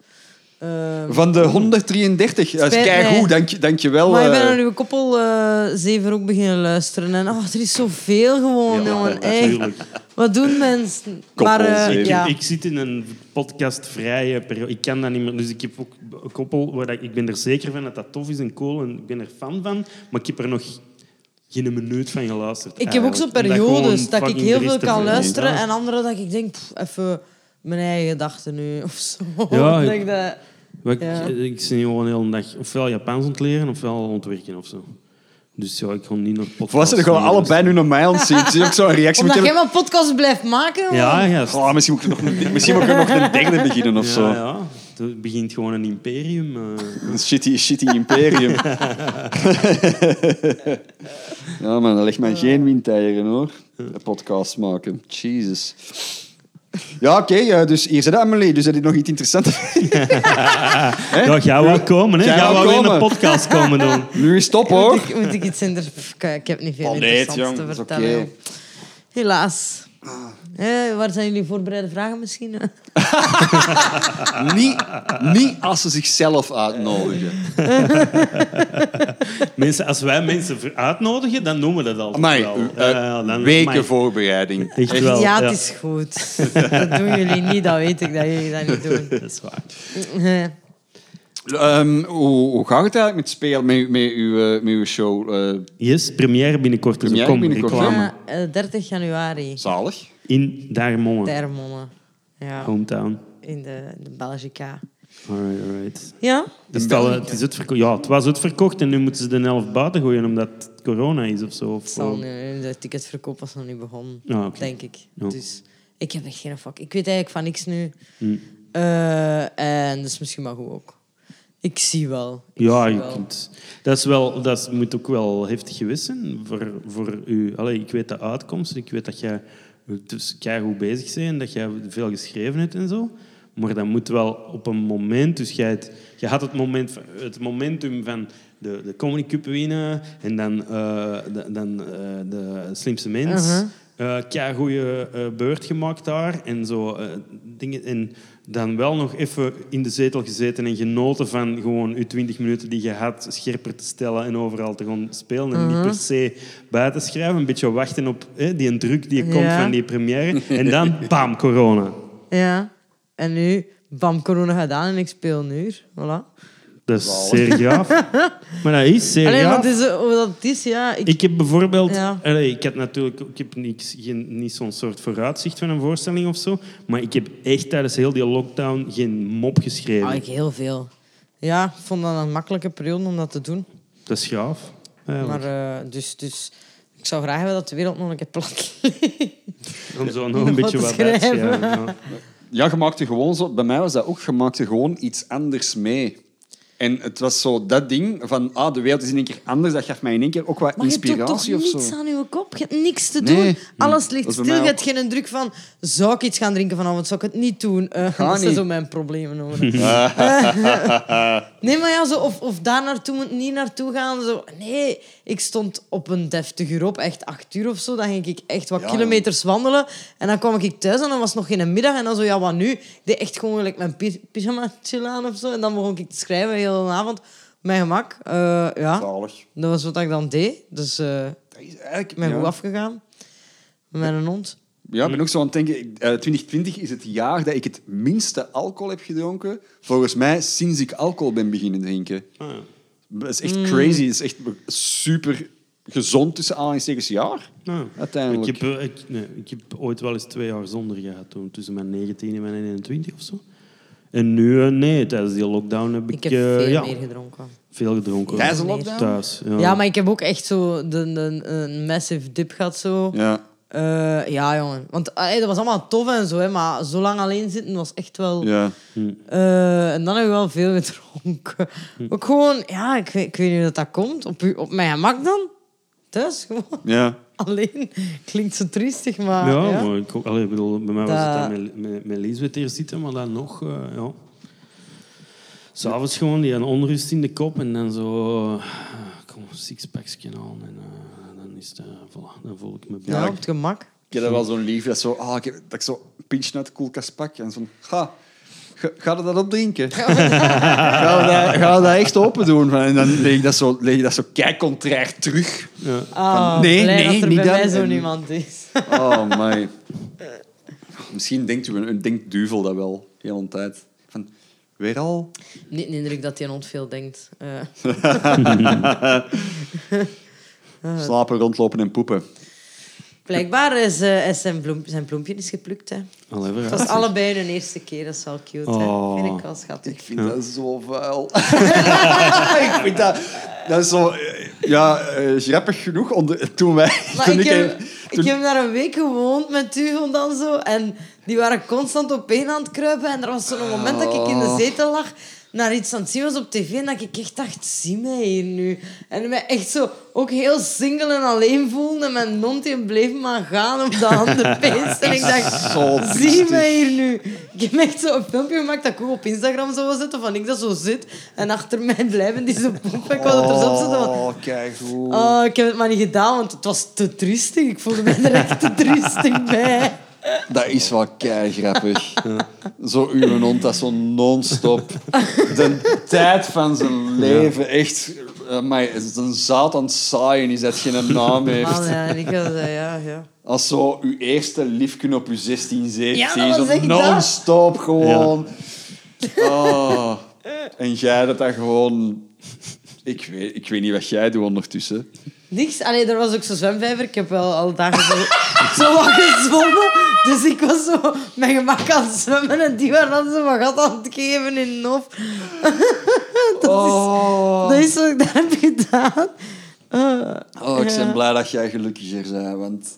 A: Eh,
B: Van de 133. Dat is
A: Spijt mij.
B: keigoed, dank, je- dank je wel.
A: maar ik ben
B: eh.
A: aan uw koppel eh, zeven ook beginnen luisteren. En oh, er is zoveel gewoon,
B: Ja,
A: jongen. Echt.
C: Tuurlijk.
A: Wat doen mensen?
B: Koppel
A: eh,
B: zeven.
C: Ik,
A: ja.
C: ik zit in een podcastvrije periode. Ik kan dat niet meer. Dus ik heb ook een koppel waar ik, ik ben er zeker van dat dat tof is en cool. En ik ben er fan van. Maar ik heb er nog geen minuut van geluisterd.
A: Ik heb ook zo'n
C: eigenlijk. Omdat eh, gewoon
A: periodes dat ik
C: fucking
A: heel
C: er is
A: veel
C: te
A: kan
C: veel.
A: luisteren
C: Ja.
A: en andere dat ik denk, pff, even mijn eigen gedachten nu of zo.
C: Ja,
A: [LAUGHS] Dat
C: ik-
A: ik dat-
C: Wat ik-
A: Ja.
C: Ik zit gewoon heel een dag ofwel Japans aan het leren ofwel aan het werken of zo. Dus ja, ik ga niet naar podcasts.
B: Volgens mij gaan we
C: luisteren.
B: allebei nu naar mij aan het zien. Zie je ook zo'n reactie
A: Omdat
B: moeten
A: jij
B: hebben?
A: maar podcasts blijft maken. man.
C: dus- Ja, gast.
B: Oh, misschien moet ik er nog een, misschien moet ik er nog een derde beginnen of
C: ja,
B: zo.
C: ja. Het begint gewoon een imperium. eh.
B: Een shitty, shitty [LAUGHS] imperium. ja, man, dat legt mij geen windeieren hoor. Een podcast maken. Jesus. Ja, oké, eh, dus hier zit Emily. Dus heb je nog iets interessants? [LAUGHS] Hè?
C: Ja, jij wou komen, hè?
B: Jij
C: Jij
B: wou
C: wou weer
B: komen.
C: een podcast
B: [LAUGHS]
C: komen doen.
B: Nu is top
A: Moet
B: hoor.
A: ik, moet ik iets anders... Pff, kijk, Ik heb niet veel
B: Oh, nee,
A: interessants
B: jong, dat
A: te
B: is
A: vertellen.
B: oké.
A: joh. Helaas. Hé, waar zijn jullie voorbereide vragen misschien?
B: Niet, niet als ze zichzelf uitnodigen.
C: Mensen, als wij mensen ver- uitnodigen, dan noemen we dat altijd
B: Amai,
C: wel.
B: eh,
C: Ja, ja, dan-
B: weken
C: amai,
B: voorbereiding.
C: Echt wel.
A: [LAUGHS] ja,
C: ja.
A: het is goed. Dat doen jullie niet, dat weet ik dat jullie dat niet doen. [LAUGHS] Eh,
C: Dat is waar.
B: Ehm, hoe, hoe gaat het eigenlijk met spelen, met, met, uw, eh, met uw show? eh,
C: Yes, première binnenkort. Dus
B: Première
C: kom,
B: binnenkort,
C: reclame.
A: Ja, eh, 30 januari,
B: zalig.
C: In Daarmongen,
A: Termonnen. Ja,
C: hometown.
A: in de, de Belgica.
C: Alright, alright.
A: Ja?
C: Dus het, al- het is uitverko- ja, het was uitverkocht en nu moeten ze de helft buiten gooien omdat het corona is of zo. Of,
A: Het zal nu- de ticketverkoop was nog niet begonnen,
C: Oh. Ah, oké.
A: denk ik.
C: Ja.
A: Dus ik heb echt geen fuck. Ik weet eigenlijk van niks nu.
C: Hm.
A: Eh, en dat is misschien maar goed ook. Ik zie wel. Ik
C: Ja,
A: zie
C: je
A: wel.
C: kunt. Dat, is wel, dat is- moet ook wel heftig geweest zijn voor, voor u. Allee, ik weet de uitkomst. Ik weet dat jij dus goed bezig bent en dat jij veel geschreven hebt en zo. Maar dat moet wel op een moment... Dus jij het, je had het, moment, van- het momentum van de, de Comedy Cup winnen en dan, eh, de, dan eh, de slimste mens.
A: Uh-huh.
C: Eh goede beurt gemaakt daar en zo eh, dingen. En dan wel nog even in de zetel gezeten en genoten van gewoon je 20 minuten die je had scherper te stellen en overal te gaan spelen. En niet
A: Mhm.
C: per se bij te schrijven, een beetje wachten op eh, die druk die komt
A: Ja.
C: van die première. En dan, bam, corona.
A: Ja. En nu, bam, corona gedaan en ik speel een uur. Voilà.
C: Dat is zeer
A: [LAUGHS]
C: graaf. Maar dat is zeer
A: Alleen,
C: graaf.
A: wat is het, hoe dat het is, ja. Ik,
C: Ik heb bijvoorbeeld...
A: Ja.
C: allee, ik heb natuurlijk ik heb niks, geen, niet zo'n soort vooruitzicht van een voorstelling of zo. Maar ik heb echt tijdens heel die lockdown geen mop geschreven.
A: Ah, ik heel veel. Ja, ik vond dat een makkelijke periode om dat te doen.
C: Dat is gaaf.
A: Maar,
C: eigenlijk.
A: eh, dus, dus ik zou graag hebben dat de wereld nog een keer plat ligt.
C: Om zo
A: [LAUGHS]
C: nog een
A: wat
C: beetje
A: te
C: wat bij te
A: schrijven.
C: schrijven, ja.
B: Ja, je maakte gewoon zo... Bij mij was dat ook, je maakte gewoon iets anders mee. En het was zo dat ding van, ah, de wereld is in één keer anders. Dat gaf mij in één keer ook wat
A: Maar je doet toch
B: inspiratie of
A: niets
B: zo.
A: aan je kop? Je hebt niks te doen.
B: Nee.
A: Alles ligt
B: Dat is bij
A: stil. Je
B: mij
A: hebt geen druk van... Zou ik iets gaan drinken vanavond? Zou ik het niet doen? Eh,
B: Ga [LAUGHS]
A: dat zijn
B: niet.
A: zo mijn problemen. Hoor. [LAUGHS] Nee, maar ja, zo, of, of daar naartoe moet niet naartoe gaan. Zo. Nee, ik stond op een deftig uur op, echt acht uur of zo. Dan ging ik echt wat
B: Ja.
A: kilometers wandelen. En dan kwam ik thuis en dan was het nog in de middag. En dan zo, ja, wat nu? Ik deed echt gewoon gelijk mijn py- pyjama aan of zo. En dan begon ik te schrijven heel de hele avond. Op Mijn gemak. Eh, ja,
B: Zalig.
A: dat was wat ik dan deed. Dus eh,
B: Dat is eigenlijk...
A: ik ben
B: ja.
A: goed afgegaan. Met een hond.
B: Ja, ik ben ook zo aan het denken. ik- eh, 2020 is het jaar dat ik het minste alcohol heb gedronken. Volgens mij sinds ik alcohol ben beginnen drinken.
C: Ah,
B: Dat is echt crazy. Dat is echt super gezond tussen aanhalingstekens jaar.
C: ja.
B: Uiteindelijk.
C: Nou, Ik heb, eh, ik, nee, ik heb ooit wel eens twee jaar zonder gehad, toen, tussen mijn 19 en mijn 21 of zo. En nu, eh, nee, tijdens die lockdown heb ik,
A: Ik heb
C: eh,
A: veel
C: ja,
A: meer gedronken.
C: veel gedronken.
B: Tijdens de
A: meer.
B: lockdown?
C: Thuis, ja.
A: Ja, maar ik heb ook echt zo de, de- een massive dip gehad. Zo.
B: Ja.
A: Eh, ja, jongen. Want eh, dat was allemaal tof en zo, hè, maar zo lang alleen zitten was echt wel...
B: Ja.
A: Eh, en dan heb ik wel veel [LAUGHS] gedronken. Ook gewoon, ja, ik weet, ik weet niet hoe dat, dat komt. Op, u- op mijn gemak dan. Thuis, [LAUGHS] gewoon.
B: Ja.
A: Alleen. Klinkt zo triestig, maar...
C: Ja,
A: Ja,
C: maar ik, ook- allee, ik bedoel, bij mij was het
A: Dat-
C: dan met, met, met Lisbeth eerst zitten, maar dan nog, eh ja. S'avonds gewoon die een onrust in de kop en dan zo, eh, kom, sixpacksje aan en eh, dan is het, eh, voilà, dan voel ik me blij.
A: Ja, op het gemak.
B: Ik heb dat wel zo'n lief dat, zo, ah, ik heb, dat ik zo een pintje uit de koelkast pak en zo'n... Ha, ga, ga je dat opdrinken? ga, je dat, ga je dat echt open doen? En dan leg je dat zo, leg je dat zo kijkcontrair terug.
C: Ja.
A: Ah,
B: nee,
A: blij
B: nee,
A: dat er
B: niet
A: bij
B: dat.
A: mij zo
B: En-
A: niemand [LAUGHS] is.
B: Oh, my. Misschien denkt, u, denkt Duvel dat wel, de hele tijd. Van, weer al?
A: Niet de indruk dat die hond veel denkt. Eh,
B: Slapen, rondlopen en poepen.
A: blijkbaar is, eh, is zijn, bloem, zijn bloempje is geplukt, hè.
C: Allee,
A: Het
C: vooruit.
A: was allebei hun eerste keer, dat is wel cute,
C: Oh.
A: hè. Vind ik wel schattig.
B: Ik vind dat zo vuil. [LAUGHS] ik vind dat... Dat is zo... eh, Ja, eh, grappig genoeg. Onder, toen wij... [LAUGHS]
A: Maar
B: toen
A: ik, heb,
B: toen-
A: ik heb daar een week gewoond met Duvel dan zo. En die waren constant op één aan het kruipen. En er was zo'n moment dat ik in
B: Oh.
A: de zetel lag naar iets aan het zien was op tv. En dat ik echt dacht, zie mij hier nu. En mij echt zo ook heel single en alleen voelde. En mijn mond die bleef maar gaan op de
B: [LAUGHS]
A: andere peest. En ik dacht,
B: Zo
A: zie
B: triestig.
A: mij hier nu. Ik heb echt zo een filmpje gemaakt dat ik ook op Instagram zou zetten. Van ik dat zo zit. En achter mij blijven die zo poepen. Ik wou dat er zo op zetten. want-
B: Oh, kijk hoe...
A: Oh, ik heb het maar niet gedaan, want het was te triestig. Ik voelde me er echt te triestig bij.
B: Dat is wel kei grappig. Zo uw hond, dat zo non-stop. De tijd van zijn leven, echt. eh, Maar een zaad aan het saaien is dat geen naam
A: Man,
B: heeft.
A: ja, en ik was, eh, ja, ja.
B: Als zo uw eerste liefje op uw 16, 17,
A: Ja, dat was
B: zo
A: echt
B: non-stop gewoon. Oh. En jij dat dat gewoon. Ik weet, ik weet niet wat jij doet ondertussen.
A: Niks. Allee, er was ook zo'n zwemvijver. Ik heb wel al dagen zo, zo wat gezwommen. Dus ik was zo mijn gemak aan het zwemmen. En die waren dan zo wat gat aan het geven in hun hoofd.
B: Oh,
A: Dat is wat ik daar heb gedaan. Eh,
B: oh ik ben
A: ja.
B: blij dat jij gelukkiger bent,
A: [LAUGHS]
B: want...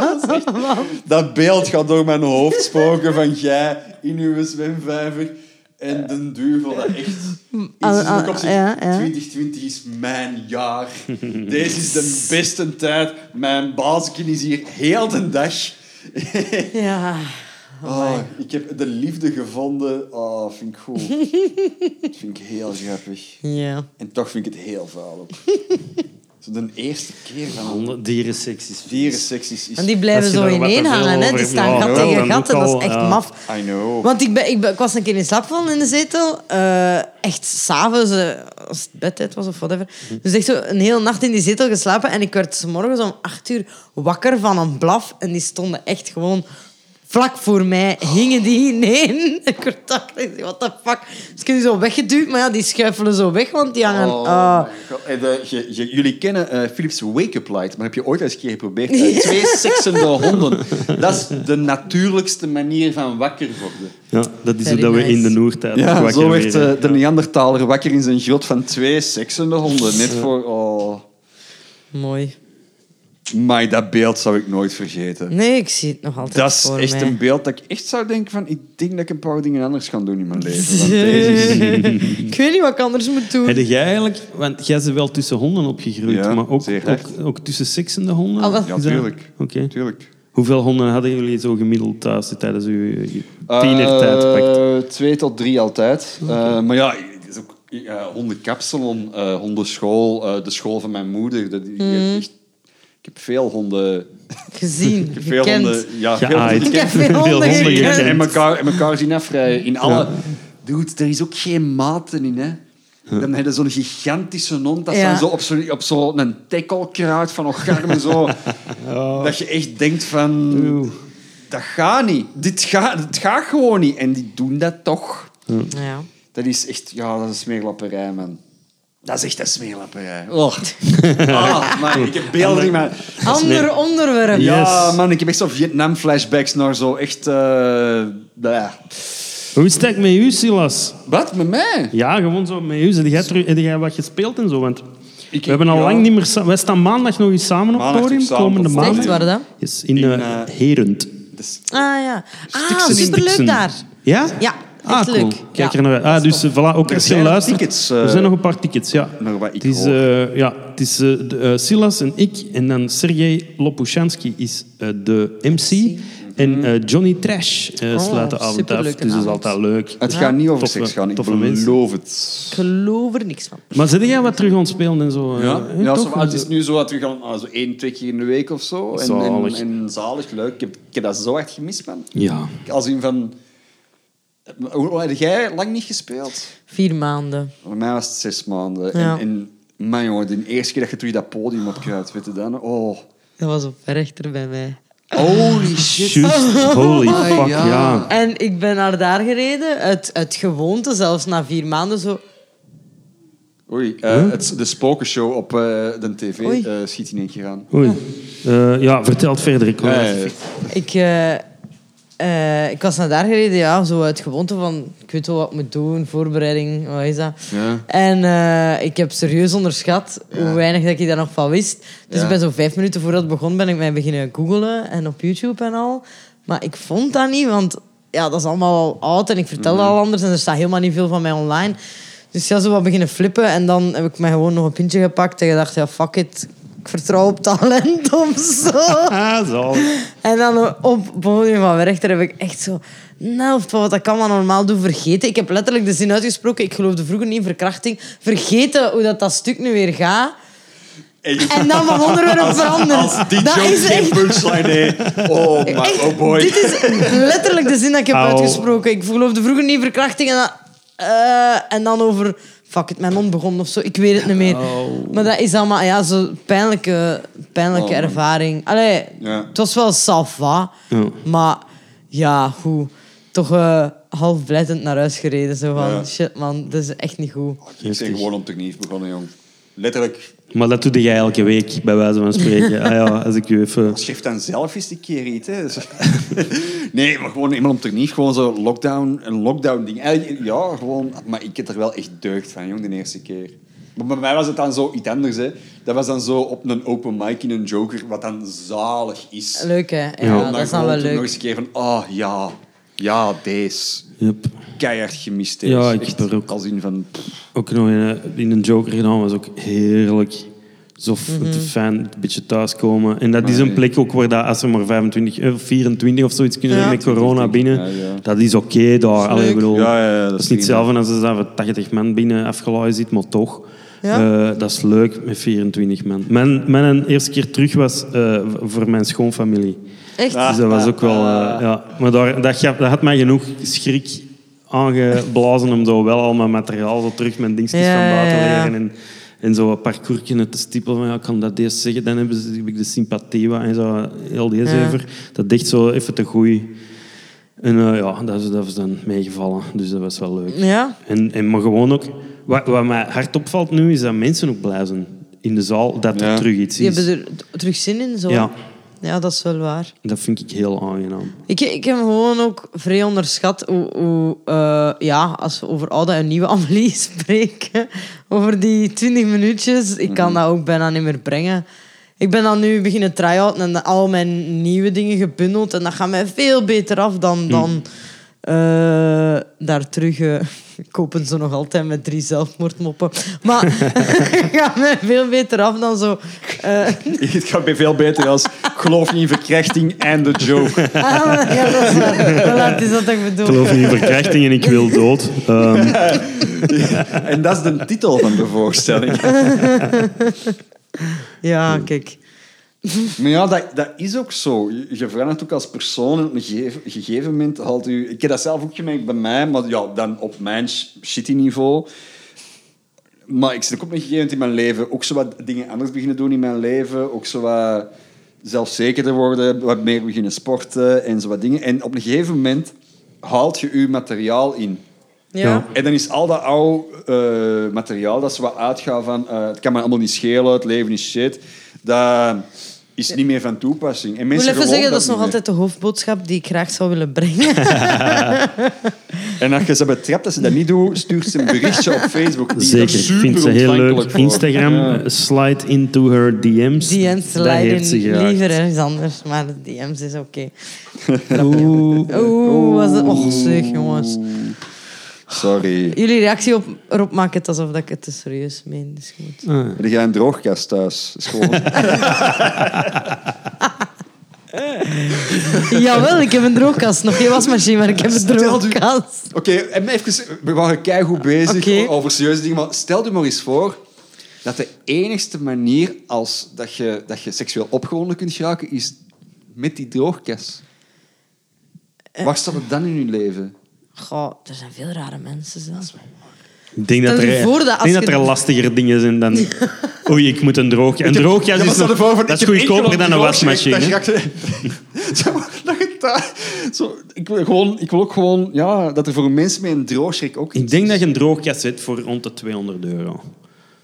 B: Dat is echt- [LAUGHS] dat beeld gaat door mijn hoofd spoken van jij in uw zwemvijver en de duivel dat echt...
A: Ah,
B: Iets
A: ah,
B: ah, op zich,
A: ja, ja.
B: 2020 is mijn jaar. Deze is de beste tijd. Mijn baasje is hier heel de
A: [LAUGHS]
B: dag.
A: Ja.
B: Oh, ik heb de liefde gevonden. Oh, vind ik
A: [LAUGHS]
B: goed. Dat vind ik heel grappig.
A: Ja.
B: En toch vind ik het heel vuil ook.
A: [LAUGHS]
B: Zo de eerste keer van een
C: Honden- Dierenseks is
B: dierenseks is... is-
A: Oh. En die blijven
C: Als je
A: zo
C: daar wat
A: ineen
C: te veel
A: hangen. Hè.
C: over
A: Die
C: hebt,
A: staan
C: ja,
A: gat
C: wel, dan
A: tegen gat. en
C: ook
A: Dat
C: al,
A: is echt
C: ja.
A: maf.
B: I know.
A: Want ik, ben, ik, ben, ik was een keer in slaap gevallen in de zetel. Eh, echt s'avonds, eh als het bedtijd was of whatever. Dus echt zo een hele nacht in die zetel geslapen. En ik werd 's morgens om acht uur wakker van een blaf. En die stonden echt gewoon vlak voor mij. Hingen die ineen. [LAUGHS] Ik werd wakker. Ik dacht, what the fuck. Dus ik heb die zo weggeduwd. Maar ja, die schuifelen zo weg, want die hangen...
B: Oh
A: ah.
B: my God. En, eh, je- je- jullie kennen eh, Philips Wake-up Light, maar heb je ooit eens een keer geprobeerd?
A: [LAUGHS]
B: Eh, Twee seksende honden. Dat is de natuurlijkste manier van wakker worden.
C: Ja, dat is hoe
A: Very
C: dat we
A: nice.
C: in de Noertijd
B: Ja,
C: wakker
B: zo werd
C: werden.
B: eh, de Neandertaler wakker in zijn grot van twee seksende honden. Net voor... Oh.
A: Mooi.
B: Maar dat beeld zou ik nooit vergeten.
A: Nee, ik zie het nog altijd
B: Dat is
A: voor
B: echt
A: mij.
B: een beeld dat ik echt zou denken van... Ik denk dat ik een paar dingen anders ga doen in mijn
A: [LAUGHS]
B: leven. Want deze is-
A: ik weet niet wat ik anders moet doen.
C: Heb jij eigenlijk, want jij bent wel tussen honden opgegroeid,
B: Ja,
C: maar ook,
B: zeer
C: ook,
B: hard.
C: ook tussen seksende honden?
A: Ah, wel.
C: Is
B: Ja,
C: dat-
B: tuurlijk.
C: Oké.
B: tuurlijk.
C: Hoeveel honden hadden jullie zo gemiddeld thuis tijdens uw uw
B: Eh,
C: tienertijd? pakt?
B: Twee tot drie altijd. Eh, maar ja, het is ook eh, hondenkapsalon, eh, hondenschool, eh, de school van mijn moeder. Dat, ik, heb echt- ik heb veel honden...
A: Gezien,
B: Ik heb [LAUGHS] veel
A: gekend.
B: honden... Ja, veel honden
C: Geaaid.
A: Ik heb veel honden
C: honden
A: gekend.
B: en
C: gekend.
B: elkaar, en elkaar zien afrijden. In alle... Dude, er is ook geen maten in, hè. Dan heb je zo'n gigantische hond dat
A: Ja.
B: dan zo op zo'n op zo een tekkel kruidt van ogarmen.
C: [LAUGHS]
B: Zo, Dat je echt denkt van... Dat gaat niet. Dit gaat, het gaat gewoon niet. En die doen dat toch.
A: Ja.
B: Dat is echt... Ja, dat is smeerlapperij, man. Dat is echt een
C: [LAUGHS]
B: smeerlapperij. Oh. Ah, man, ik heb beelden in mijn...
A: Ander onderwerp.
C: Ja.
B: Ja,
C: Yes.
B: man, ik heb echt zo Vietnam-flashbacks naar zo echt... eh, bleh.
C: Hoe is het eigenlijk met u, Silas?
B: Wat? Met mij?
C: Ja, gewoon zo met u. Heb jij, terug- heb jij wat gespeeld en zo? Want
B: Ik-
C: we hebben al
B: ja.
C: lang niet meer... sa- Wij staan maandag nog eens samen op het
B: Maandag
C: podium.
B: nog samen
C: komende
B: op het
A: Echt
C: maandag.
B: podium.
A: waar dan?
C: Yes, in,
B: In,
C: eh,
B: eh,
C: Herent.
B: Dus,
A: Ah ja. Ah,
B: in
A: superleuk
C: Dixon.
A: daar.
C: Ja?
A: Ja,
C: Ah,
A: echt
C: cool.
A: leuk.
C: Kijk
A: Ja.
C: er naar uit. Ah, dus eh, voilà, ook
B: Er
C: als je
B: zijn nog
C: luistert...
B: tickets, eh,
C: er zijn nog een paar tickets, ja.
B: naar wat ik
C: het is,
B: hoor.
C: eh, ja, het is eh, de, eh, Silas en ik en dan Sergej Lopushansky is eh, de MC. En eh, Johnny Trash eh, slaat de avond af. Dus
A: Mhm. Oh, superleuke
C: dat is
A: avond.
C: altijd leuk.
B: het gaat niet over
C: Toffe-
B: seks gaan, ik
C: toffe mensen.
B: beloof het.
A: Ik geloof er niks van.
C: Maar zit jij wat terug aan het spelen en zo? eh,
B: Ja,
C: hè,
B: ja
C: toch?
B: zo, het is nu zo dat we gaan ah, zo één, twee keer in de week of zo. En, en,
C: Zalig.
B: en zalig, leuk. Ik heb, ik heb dat zo hard gemist, man.
C: Ja.
B: Als in van... Hoe hoe heb jij lang niet gespeeld?
A: Vier maanden.
B: Voor mij was het zes maanden.
A: Ja.
B: En, en man, jongen, de eerste keer dat je terug dat podium op kruipt, weet je dan? Oh,
A: Dat was op rechter bij mij.
B: holy shit.
A: [LAUGHS]
C: Just,
A: Oh,
C: holy
B: Ah,
C: fuck,
B: ja.
C: ja.
A: En ik ben naar daar gereden, uit, uit gewoonte, zelfs na vier maanden zo.
B: Oei, eh, het, de spokenshow op eh, de tv
A: Oei.
B: eh, schiet in één keer aan.
C: Oei. Eh, ja, vertel het verder. Ik hoor het.
B: Eh,
A: Ik, eh, eh, ik was naar daar gereden, ja, zo uit gewoonte van... Ik weet wel wat ik moet doen, voorbereiding, wat is dat?
B: Ja.
A: En eh, ik heb serieus onderschat hoe weinig dat ik daar nog van wist. Dus
B: Ja.
A: bij zo'n vijf minuten voordat het begon ben ik mij beginnen googelen en op YouTube en al. Maar ik vond dat niet, want ja, dat is allemaal al oud en ik vertelde
B: Mhm.
A: al anders en er staat helemaal niet veel van mij online. Dus ja, zo wat beginnen flippen en dan heb ik mij gewoon nog een pintje gepakt en gedacht, ja, fuck it. Ik vertrouw op talent [LAUGHS] of zo.
C: [LAUGHS] Ah, zo.
A: En dan op het podium van Werchter heb ik echt zo... Nou, van wat ik allemaal normaal doe, vergeten. Ik heb letterlijk de zin uitgesproken. Ik geloofde vroeger niet in verkrachting. Vergeten hoe dat, dat stuk nu weer gaat. En dan van onderwerp veranderd. Dat is echt...
B: punchline,
A: [LAUGHS]
B: Oh, my,
A: echt Dit is letterlijk de zin dat ik heb
C: Au.
A: uitgesproken. Ik geloofde vroeger niet in verkrachting. En dan, eh, en dan over... Fuck it, mijn mond begon of zo. Ik weet het niet meer. Maar dat is allemaal ja, zo'n pijnlijke, pijnlijke
B: Oh, man.
A: ervaring. Allee,
B: Ja.
A: het was wel salva.
C: Ja.
A: Maar ja, goed. Toch eh, half blijdend naar huis gereden. Zo van,
B: Ja.
A: shit man, dit is echt niet goed.
B: Ik ben gewoon op techniek begonnen, jong. Letterlijk.
C: Maar dat doe jij elke week, bij wijze van spreken. Ah ja, als ik u even...
B: Schrijf dan zelf eens een keer iets. Hè. Dus- [LAUGHS] nee, maar gewoon helemaal op techniek. Gewoon zo lockdown, een lockdown-ding. Eigenlijk, Ja, gewoon. Maar ik heb er wel echt deugd van, jong, de eerste keer. Maar bij mij was het dan zo iets anders. Hè. Dat was dan zo op een open mic in een joker, wat dan zalig is.
A: Leuk hè? Ja,
C: Ja.
B: Om
A: dat is dan
B: gewoon
A: wel
B: toen Nog
A: leuk.
B: eens een keer van, ah ja, ja, deze.
C: Yep.
B: Keihard gemist. hè.
C: Ja, ik
B: Echt
C: heb er ook-
B: Als in van... [LAUGHS] pff,
C: Ook nog in, een- in een Joker gedaan, was ook heerlijk. Zo f-
B: Mhm.
C: te fijn, een beetje thuiskomen. En dat is een
B: nee.
C: plek ook waar dat, als er maar 25 eh, of 24 of zoiets kunnen
A: Ja.
C: er met corona binnen,
B: Ja, ja.
C: dat is oké daar. Allee, ik bedoel,
B: Ja, ja, ja, dat
C: dat
B: is
C: is niet
B: prima.
C: hetzelfde als er zijn van 80 man binnen afgeladen zit, maar toch.
A: Ja.
C: Eh, dat is leuk met 24 man. Mijn, mijn eerste keer terug was eh, v- voor mijn schoonfamilie.
A: Echt?
C: Dus dat was ook wel... eh, ja. Maar daar, dat, gaf- dat had mij genoeg schrik aangeblazen om zo wel al mijn materiaal zo terug mijn dingetjes
A: Ja,
C: van buiten
A: ja, ja.
C: leren. En, en zo een parcoursje te stippelen van ja, ik kan dat eerst zeggen, dan hebben ze, heb ik de sympathie wat en zo, heel die zever. Dat dicht zo even te goeie. En eh, ja, dat is, dat is dan meegevallen. Dus dat was wel leuk.
A: Ja.
C: En, en maar gewoon ook... Wat, wat mij hard opvalt nu, is dat mensen ook blij zijn in de zaal dat er
B: Ja.
C: terug iets
A: Die hebben
C: is.
A: er t- terug zin in zo.
C: Ja.
A: Ja, dat is wel waar.
C: Dat vind ik heel aangenaam.
A: Ik, ik heb gewoon ook vrij onderschat hoe, hoe eh, ja, als we over oude en nieuwe [LAUGHS] Amelie spreken, over die 20 minuutjes, ik kan dat ook bijna niet meer brengen. Ik ben dan nu beginnen try-outen en al mijn nieuwe dingen gebundeld en dat gaat mij veel beter af dan, dan Eh, daar terug eh, [LAUGHS] kopen ze nog altijd met drie zelfmoordmoppen. Maar [LAUGHS] gaat mij veel beter af dan zo. eh, [LAUGHS]
B: Het gaat bij veel beter als geloof niet in verkrachting en de joke.
A: ah, ja, dat is waar. Voilà, het is dat ik bedoel.
C: Ik geloof niet in verkrachting en ik wil dood. Ehm,
B: [LAUGHS] En dat is de titel van de voorstelling.
A: Ja, kijk.
B: Maar ja, dat, dat is ook zo. Je, je verandert ook als persoon. En Op een gegeven, gegeven moment haalt u... Ik heb dat zelf ook gemerkt bij mij, maar ja, dan op mijn sh- shitty niveau. Maar ik zit ook op een gegeven moment in mijn leven ook zo wat dingen anders beginnen doen in mijn leven. Ook zo wat zelfzekerder worden, wat meer beginnen sporten en zo wat dingen. En op een gegeven moment haalt je je materiaal in.
A: Ja.
B: En dan is al dat oude eh, materiaal dat ze wat uitgaan van... eh, het kan me allemaal niet schelen, het leven is shit. Dat is niet meer van toepassing. En
A: Ik
B: mensen
A: wil even
B: geloven
A: zeggen, dat is
B: niet
A: nog
B: meer.
A: altijd de hoofdboodschap die ik graag zou willen brengen.
B: En als je ze betrapt dat ze dat niet doen, stuurt ze een berichtje op Facebook. Die is
C: zeker.
B: daar
C: Ik
B: super
C: vind ze heel
B: ontvankelijk
C: leuk.
B: voor.
C: Instagram,
B: Ja.
C: eh, slide into her DM's.
A: DM's
C: Dat heeft ze
A: leiden
C: geraakt.
A: liever ergens anders, maar de DM's is oké.
C: Oeh.
A: Oeh, was het... Och, zeg, jongens.
B: Sorry.
A: Jullie reactie op, erop maakt het alsof dat ik het te serieus meen. Dus je moet-
C: Ah.
B: Heb jij een droogkast thuis? Is gewoon-
A: [LAUGHS] Jawel, ik heb een droogkast. Nog geen wasmachine, maar ik heb een
B: Stel u-
A: droogkast.
B: Oké, en even, we waren keigoed bezig
A: Oké.
B: over serieuze dingen, maar stel je maar eens voor dat de enigste manier als dat je, dat je seksueel opgewonden kunt geraken is met die droogkast. Waar staat het dan in je leven?
A: Goh, er zijn veel rare mensen zelfs.
C: Ik denk dat
A: Stel je
C: er,
A: voor dat
C: ik
A: als
C: denk
A: je
C: dat er
A: de-
C: lastiger dingen zijn
A: [LAUGHS]
C: dan... Oei, ik moet een droogjas. Een droogjas is, nog, dat is goedkoper dan een wasmachine.
B: [LAUGHS] Dat je daar- zo, ik, wil gewoon, ik wil ook gewoon ja, dat er voor mensen met een droogschrik ook
C: Ik
B: iets
C: denk
B: is.
C: dat je een droogjas zit voor rond de 200 euro.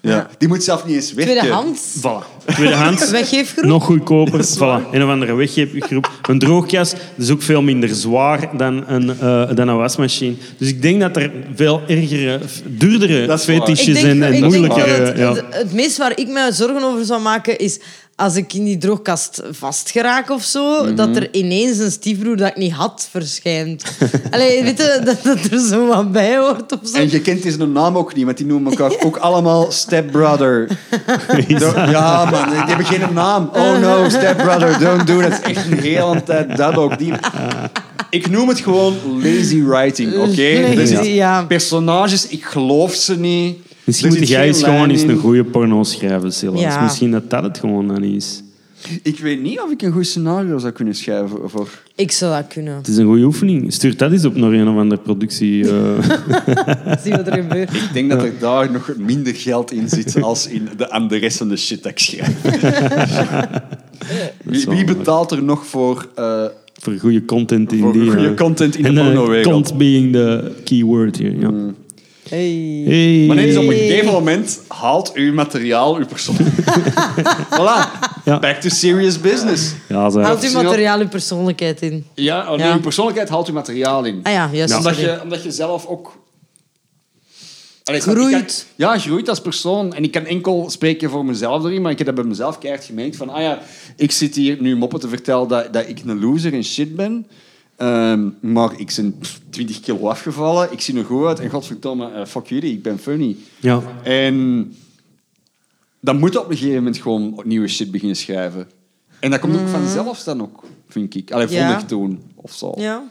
B: Ja. Die moet zelf niet eens werken.
A: Tweedehands.
C: Voilà. Tweedehands.
A: [LAUGHS] Weggeefgroep.
C: Nog
A: [LAUGHS]
C: goedkoper. Voilà. Een of andere weggeefgroep. Een droogjas is ook veel minder zwaar dan een, eh, dan een wasmachine. Dus ik denk dat er veel ergere, f- duurdere
B: Dat is waar.
A: Ik
C: fetisjes
A: denk,
C: en, en
A: ik denk wel
C: moeilijkere...
A: dat het,
C: eh, ja.
A: het, het meest waar ik me zorgen over zou maken is als ik in die droogkast vastgeraak of zo, dat er ineens een stiefbroer dat ik niet had verschijnt. [LAUGHS] Allee, weet je, dat, dat er zo wat bij hoort of zo.
B: En je kent zijn naam ook niet, want die noemen elkaar
A: [LAUGHS]
B: ook allemaal stepbrother. ja, man, die hebben geen naam. Oh no, stepbrother, don't do that. Dat is echt een hele tijd dat ook. Die... Ik noem het gewoon lazy writing, oké?
A: Lazy,
B: Er zit-
A: ja.
B: Personages, ik geloof ze niet.
C: Misschien
B: Er
C: moet
B: zit
C: jij
B: geen
C: eens gewoon
B: lijn
C: eens
B: in.
C: een goede porno schrijven, Silas.
A: Ja.
C: Misschien dat dat het gewoon dan is.
B: Ik weet niet of ik een goed scenario zou kunnen schrijven voor...
A: Ik zou dat kunnen.
C: Het is een goede oefening. Stuur dat eens op naar een of andere productie. eh. [LAUGHS]
A: Zie wat er gebeurt.
B: Ik denk dat er daar nog minder geld in zit als in de anderessende shit dat ik schrijf. Wie, wie betaalt er nog voor... eh,
C: voor goede content in
B: Voor
C: die...
B: goede
C: eh,
B: content in de
C: en, eh,
B: pornowereld. Mm.
C: Cont being the key word hier, ja.
A: Hey.
C: Hey.
B: Maar nee, dus op een gegeven moment haalt uw materiaal uw persoon. voilà.
C: Ja.
B: Back to serious business.
C: Ja, zo.
A: Haalt uw materiaal uw persoonlijkheid in.
B: Ja, oh
A: nee, Ja.
B: uw
A: uw
B: persoonlijkheid haalt uw materiaal in.
A: Ah ja, juist.
B: Omdat,
A: sorry.
B: je, omdat je zelf ook... Allee,
A: Groeit.
B: ik kan- ja, groeit als persoon. En ik kan enkel spreken voor mezelf erin, maar ik heb dat bij mezelf keihard gemerkt. Van, ah ja, ik zit hier nu moppen te vertellen dat, dat ik een loser en shit ben. Ehm, maar ik ben pff, 20 kilo afgevallen. Ik zie er goed uit. En godverdomme, eh, fuck jullie, ik ben funny.
C: Ja.
B: En dan moet je op een gegeven moment gewoon nieuwe shit beginnen schrijven. En dat komt ook vanzelf dan ook, vind ik. Allee,
A: Mm. Ja.
B: vond ik toen, of zo.
A: Ja,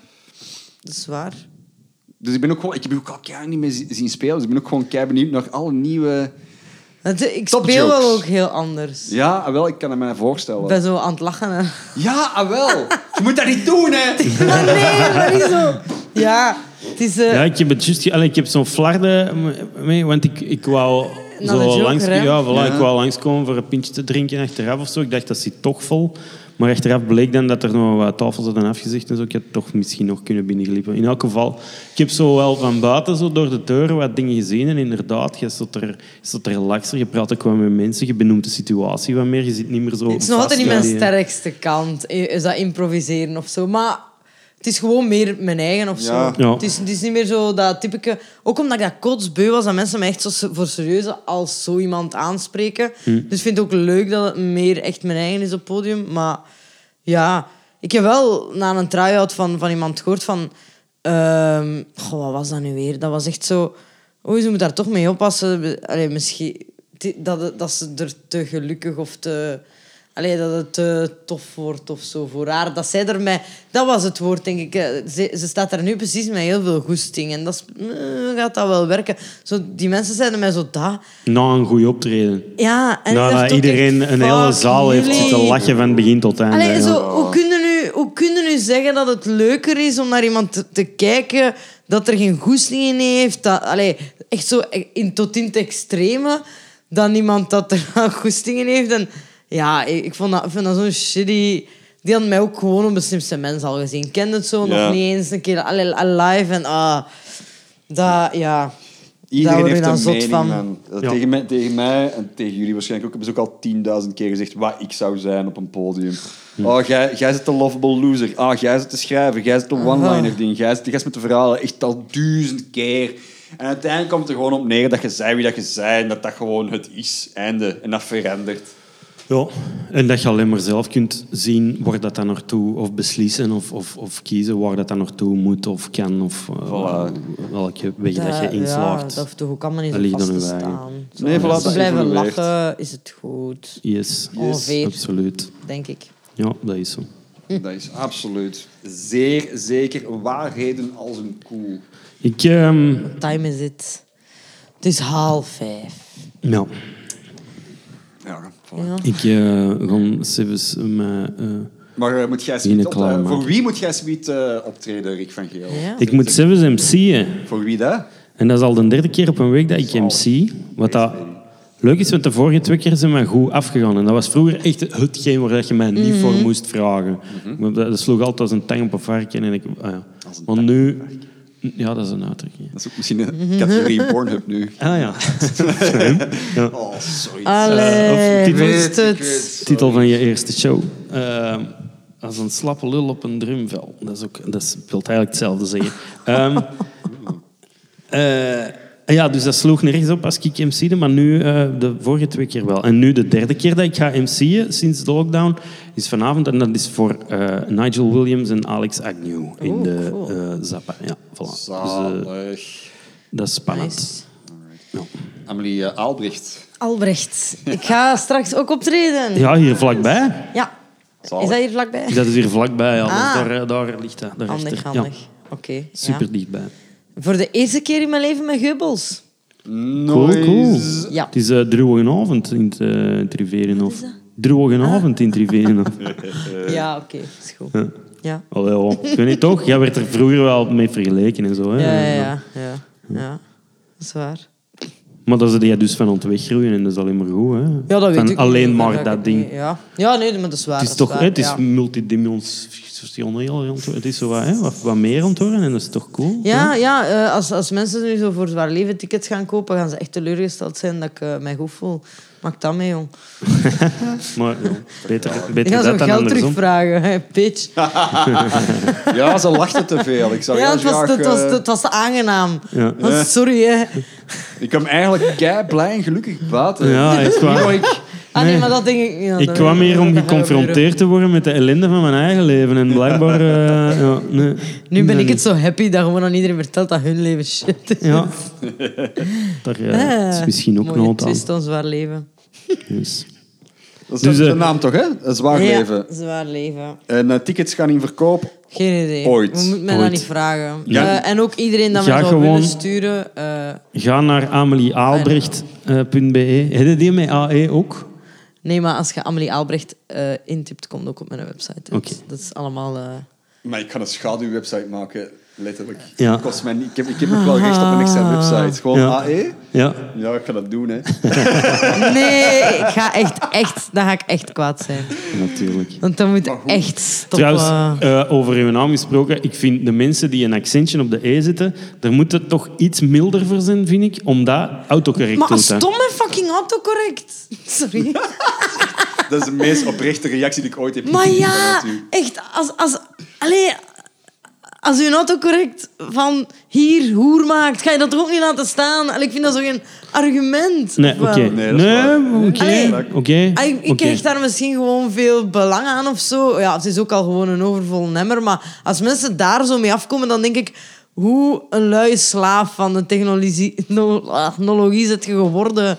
A: dat is waar.
B: Dus ik ben ook gewoon... Ik heb ook al keihard niet meer zi- zien spelen. Dus ik ben ook gewoon kei benieuwd naar alle nieuwe...
A: Want Ik
B: Top
A: speel
B: jokes.
A: wel ook heel anders.
B: Ja, ah, wel, ik kan het mij
A: Ik
B: voorstellen.
A: ben zo aan het lachen. hè. [LAUGHS]
B: Ja, ah, wel. je moet dat niet doen, hè.
A: Maar nee, maar niet zo. Ja, het is... eh,
C: Ja, ik heb, het juist ge- allee, ik heb zo'n flarde m- mee, want ik, ik wou
A: Naar de
C: zo
A: Joker,
C: langs,
A: hè?
C: ja,
B: Ja.
C: voilà, ik wou langskomen voor een pintje te drinken achteraf of zo. Ik dacht, dat zit toch vol. Maar achteraf bleek dan dat er nog wat tafels hadden afgezegd en zo. Ik had toch misschien nog kunnen binnenglippen. In elk geval, ik heb zo wel van buiten zo door de deur wat dingen gezien. En inderdaad, je zat er, je zat er relaxer, je praat ook wel met mensen, je benoemt de situatie wat meer. Je zit niet meer zo
A: Het is nog altijd niet mijn
C: vast bij die-
A: sterkste kant, eh, is dat improviseren of zo. Maar het is gewoon meer mijn eigen of zo.
B: Ja.
C: Ja.
A: Het, is, het is niet meer zo dat typische... Ook omdat ik dat kotsbeu was, dat mensen me echt zo voor serieuze als zo iemand aanspreken. Dus ik vind het ook leuk dat het meer echt mijn eigen is op het podium. Maar ja, ik heb wel na een try-out van, van iemand gehoord van... eh, Ehm, goh, wat was dat nu weer? Dat was echt zo... Oei, ze moet daar toch mee oppassen. Allee, misschien... die- Dat, dat ze er te gelukkig of te... Allee, dat het te tof wordt of zo voor haar. Dat zij er mij... Dat was het woord, denk ik. Eh, Ze, ze staat daar nu precies met heel veel goesting. En dat is, eh, gaat dat wel werken. Zo, die mensen zeiden mij zo... Dat.
C: Na een goede optreden.
A: Ja, en ik
C: Nou,
A: dacht
C: dat
A: ook
C: iedereen
A: echt,
C: een hele
A: fuck
C: zaal heeft
A: jullie.
C: zitten lachen van begin tot einde.
A: Allee,
C: ja.
A: zo, hoe kunnen nu, hoe kunnen nu zeggen dat het leuker is om naar iemand te, te kijken dat er geen goesting in heeft? Dat, allee, echt zo eh, in, tot in het extreme dan iemand dat er [LAUGHS] wel goesting in heeft. En, ja, ik, ik vond dat, ik vind dat zo'n shitty... Die had mij ook gewoon op de slimste mens al gezien. Ik kende het zo
B: Ja.
A: nog niet eens een keer. Allee, alive en... ah dat, ja...
B: Iedereen
A: daar word je
B: heeft
A: dan
B: een
A: zot
B: mening,
A: van.
B: man. Dat
C: Ja.
B: Tegen, mij, tegen mij en tegen jullie waarschijnlijk ook hebben ze ook al 10.000 keer gezegd wat ik zou zijn op een podium. Oh, jij, jij zit de lovable loser. Ah, jij zit de schrijver. Jij zit de one-liner ding. Jij zit de gast met de verhalen. Echt al duizend keer. En uiteindelijk komt het er gewoon op neer dat je zei wie dat je zei en dat dat gewoon het is. Einde. En dat verandert.
C: Ja, en dat je alleen maar zelf kunt zien waar dat dan naartoe, of beslissen, of, of, of kiezen waar dat dan naartoe moet of kan, of eh,
B: Voilà.
C: welke weg dat, je
A: Ja,
C: inslaagt.
A: dat hoeft toch ook allemaal niet
C: Dat ligt
A: zo vast
C: aan
A: te
C: uw eigen.
A: staan. Zo,
B: Nee, voilà,
A: als ze
B: dat
A: blijven
B: evolueert.
A: lachen, is het goed,
C: Yes,
A: Ongeveer.
C: absoluut.
A: denk ik.
C: Ja, dat is zo.
B: Dat is absoluut zeer zeker waarheden als een koe.
C: Ik, ehm,
A: time is it? Het is half vijf.
C: ja,
B: Ja, voilà.
A: Ja.
C: nou, ik eh ga Sivus mijn...
B: Maar eh, moet jij
C: Ine
B: zoiets optreden?
C: klaarmaken.
B: Voor wie moet jij zoiets eh, optreden, Rick van Geel?
A: Ja.
C: ik moet Sivus MC'en.
B: Voor wie dat?
C: En dat is al de derde keer op een week dat ik MC. Wat dat leuk is, want de vorige twee keer zijn we goed afgegaan. En dat was vroeger echt hetgeen waar je mij niet voor moest vragen. Want Dat, dat sloeg altijd als een tang op een varken. En ik, ah ja. Maar nu... Ja, dat is een uitdrukking.
B: Dat is ook misschien
A: Mhm.
B: een categorie Pornhub nu.
C: Ah ja. ja.
B: Oh, sorry.
C: Eh, of
A: Allee,
C: titel-
A: wist het.
C: Titel van je eerste show. Ehm, als een slappe lul op een drumvel. Dat, is ook, dat is- wil eigenlijk hetzelfde zeggen. Ehm, [LAUGHS] eh, ja, dus dat sloeg nergens op als ik MC'de, maar nu eh, de vorige twee keer wel. En nu de derde keer dat ik ga MC'en sinds de lockdown is vanavond. En dat is voor eh, Nigel Williams en Alex Agnew in
A: Oeh,
C: de
A: Oh, cool.
C: eh, Zappa. Ja, voilà. Dus, eh,
B: Zalig.
C: dat is spannend.
A: Nice.
C: Ja.
B: Amelie eh, Aalbrecht.
A: Albrecht, ik ga straks ook optreden. Ja.
C: ja, hier vlakbij.
A: Is
B: Zalig.
A: dat hier vlakbij?
C: Dat is hier vlakbij, ja.
A: Ah.
C: Dus daar, daar ligt dat. Daar
A: Handig,
C: achter.
A: handig.
C: Ja,
A: Oké. ja.
C: super dichtbij.
A: Voor de eerste keer in mijn leven met Geubels.
C: Cool, cool.
B: Noise.
A: Ja.
C: Het is eh droegenavond in het eh, in Triverenhof. Droegenavond in het Triverenhof.
A: Ja, oké. Is goed. Ja.
C: [LAUGHS] Allee, oh. Ik weet niet, toch? Jij werd er vroeger wel mee vergeleken en zo. Hè?
A: Ja, ja, ja. ja. ja. Dat is waar.
C: Maar dat ze jij dus van aan het weggroeien en dat is alleen maar goed. Hè?
A: Ja, dat weet
C: van
A: ik
C: alleen
A: niet.
C: maar
A: ga
C: dat,
A: ik het
C: ding.
A: niet- Ja. ja, nee, maar dat is waar.
C: Het is
A: dat
C: toch hè, het is
A: waar, ja.
C: multidimensioneel. aan het worden. Het is zo wat, hè? Wat, wat meer aan het worden en dat is toch cool?
A: Ja, ja eh, als, als mensen nu zo voor zwaar leven tickets gaan kopen, gaan ze echt teleurgesteld zijn dat ik eh, mij goed voel. Maak dat mee, jong.
C: Maar ja, beter,
A: Ik
C: beter
A: ga
C: dat
A: zo'n
C: dan
A: geld
C: andersom.
A: terugvragen, hè, bitch.
B: Ja, ze lachten te veel. Ik zou
A: ja,
B: heel
A: het was,
B: graag,
A: het, was,
B: eh,
A: het was aangenaam.
C: Ja.
A: Want Sorry, hè.
B: Ik kwam eigenlijk kei blij en gelukkig buiten.
C: Ja, echt waar.
B: Niet wat ik-
A: Ah, nee,
C: Nee.
A: maar dat denk ik... ja,
C: Ik
A: dat-
C: kwam hier om
A: dat gaan we weer
C: geconfronteerd te worden met de ellende van mijn eigen leven. En
A: [LAUGHS]
C: blijkbaar... eh, ja, nee.
A: doen. Nu ben ik het zo happy dat gewoon aan iedereen vertelt dat hun leven shit is. [LAUGHS]
C: Ja. Daar
A: Ah,
C: eh, is misschien ook
A: Mooie
C: nood aan.
A: twist aan zwaar leven.
C: Dus.
B: Dat is
C: Dus,
B: de-
C: eh,
B: de naam toch, hè? Een zwaar leven.
A: Ja, zwaar leven.
B: En eh, tickets gaan in verkoop.
A: Geen idee.
B: Ooit.
A: We moeten mij
C: Ooit.
A: dat niet vragen.
C: Ja.
A: Eh, en ook iedereen dat
C: Ga
A: mij zou
C: gewoon-
A: willen sturen... eh,
C: Ga naar eh, amelieaalbrecht.be. Heb je E. die met AE ook?
A: Nee, maar als je Amelie Albrecht eh, intipt, komt ook op mijn website. Dat,
C: Oké.
A: dat is allemaal... eh,
B: Maar ik kan een schaduwwebsite maken, letterlijk.
C: Ja. Ah.
B: Dat Kost mij niet. Ik, heb, ik heb ook wel recht op een extra website. Gewoon
C: Ja.
B: AE.
C: Ja.
B: Ja, ik ga dat doen, hè.
A: Nee, ik ga echt, echt... Dan ga ik echt kwaad zijn.
C: Natuurlijk.
A: Want dan moet
B: goed.
A: echt stoppen.
C: Trouwens, eh, over uw naam gesproken, ik vind de mensen die een accentje op de E zetten, daar moet het toch iets milder voor zijn, vind ik, omdat autocorrect
A: maar
C: doet dat.
A: stom en fucking autocorrect. Sorry.
B: Dat is de meest oprechte reactie die ik ooit heb
A: Maar
B: gekregen
A: ja,
B: vanuit u.
A: echt, als... als allee, als u een autocorrect van hier, hoer maakt, ga je dat toch ook niet laten staan? Allee, ik vind dat zo geen argument.
C: Nee,
A: of
C: oké.
A: wel?
B: Nee,
C: Nee,
B: dat is waar.
C: oké.
A: Allee.
C: Oké.
A: Ah, ik ik
C: oké.
A: hecht daar misschien gewoon veel belang aan of zo. Ja, het is ook al gewoon een overvol nemmer. Maar als mensen daar zo mee afkomen, dan denk ik... hoe een luie slaaf van de technologie ah, technologie zit je geworden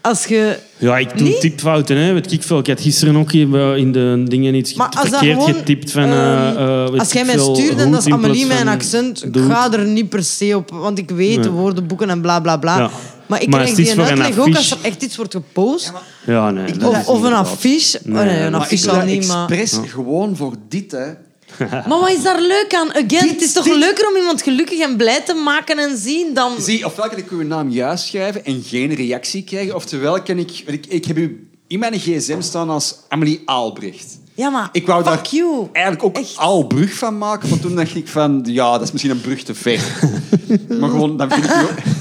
A: als je...
C: Ja, ik doe
A: Niet?
C: typfouten, hè. Weet ik veel. Ik had gisteren ook hier bij- in de dingen iets
A: Maar als dat
C: verkeerd
A: gewoon,
C: getypt van...
A: ehm,
C: eh, eh, weet
A: als jij
C: ik
A: mij
C: veel,
A: stuurt en
C: goed
A: dat is
C: in plaats
A: Amelie mijn
C: van
A: accent, ik
C: doet.
A: ga er niet per se op, want ik weet de
C: Nee.
A: woordenboeken en bla bla bla.
C: Ja.
A: Maar ik
C: Maar
A: krijg
C: het is
A: die
C: voor een
A: uitleg ook als
C: affiche.
A: er echt iets wordt gepost.
C: Ja, nee. dat is
A: Of, of
C: niet
A: een
C: waar.
A: affiche. Oh, nee, een
B: Maar ik
A: affiche
B: doe
A: al
B: dat
A: niet, maar...
B: expres gewoon voor dit, hè.
A: Maar wat is daar leuk aan? Again, het is toch
B: dit-
A: leuker om iemand gelukkig en blij te maken en zien dan...
B: Zie, ofwel kan ik uw naam juist schrijven en geen reactie krijgen, oftewel kan ik... Ik, ik heb u in mijn gsm staan als Amelie Aalbrecht.
A: Ja, maar
B: Ik wou
A: fuck
B: daar
A: you.
B: eigenlijk ook
A: Echt.
B: Aalbrug van maken, maar toen dacht ik van, ja, dat is misschien een brug te
A: [LAUGHS]
B: ver. maar gewoon, dan vind ik... u ook-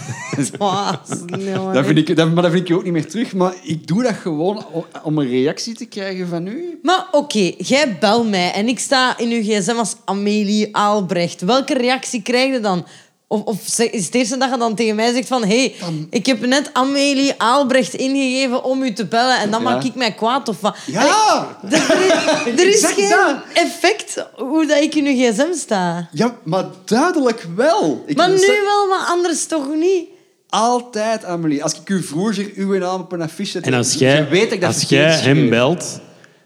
A: Oh,
B: [LAUGHS]
A: nee, man.
B: Dat vind ik, dat, maar dat vind ik je ook niet meer terug. Maar ik doe dat gewoon o- om een reactie te krijgen van u.
A: Maar oké, jij bel mij en ik sta in uw gsm als Amelie Aalbrecht. Welke reactie krijg je dan? Of, of ze- is het de eerste dat je dan tegen mij zegt van... Hé, hey, ik heb net Amelie Aalbrecht ingegeven om u te bellen en dan
B: Ja.
A: maak ik mij kwaad of wat?
B: Ja!
A: Allee, er,
B: [LAUGHS]
A: er is, er is
B: Exact
A: geen
B: dat.
A: effect hoe dat ik in uw gsm sta.
B: Ja, maar duidelijk wel. Ik
A: Maar
B: doe
A: nu
B: ze-
A: wel, maar anders toch niet?
B: Altijd, Amelie. Als ik u vroeger uw naam op een affiche zet,
C: En als
B: dan
C: jij,
B: weet ik dat
C: als
B: verkeerd
C: jij
B: schreef.
C: hem belt,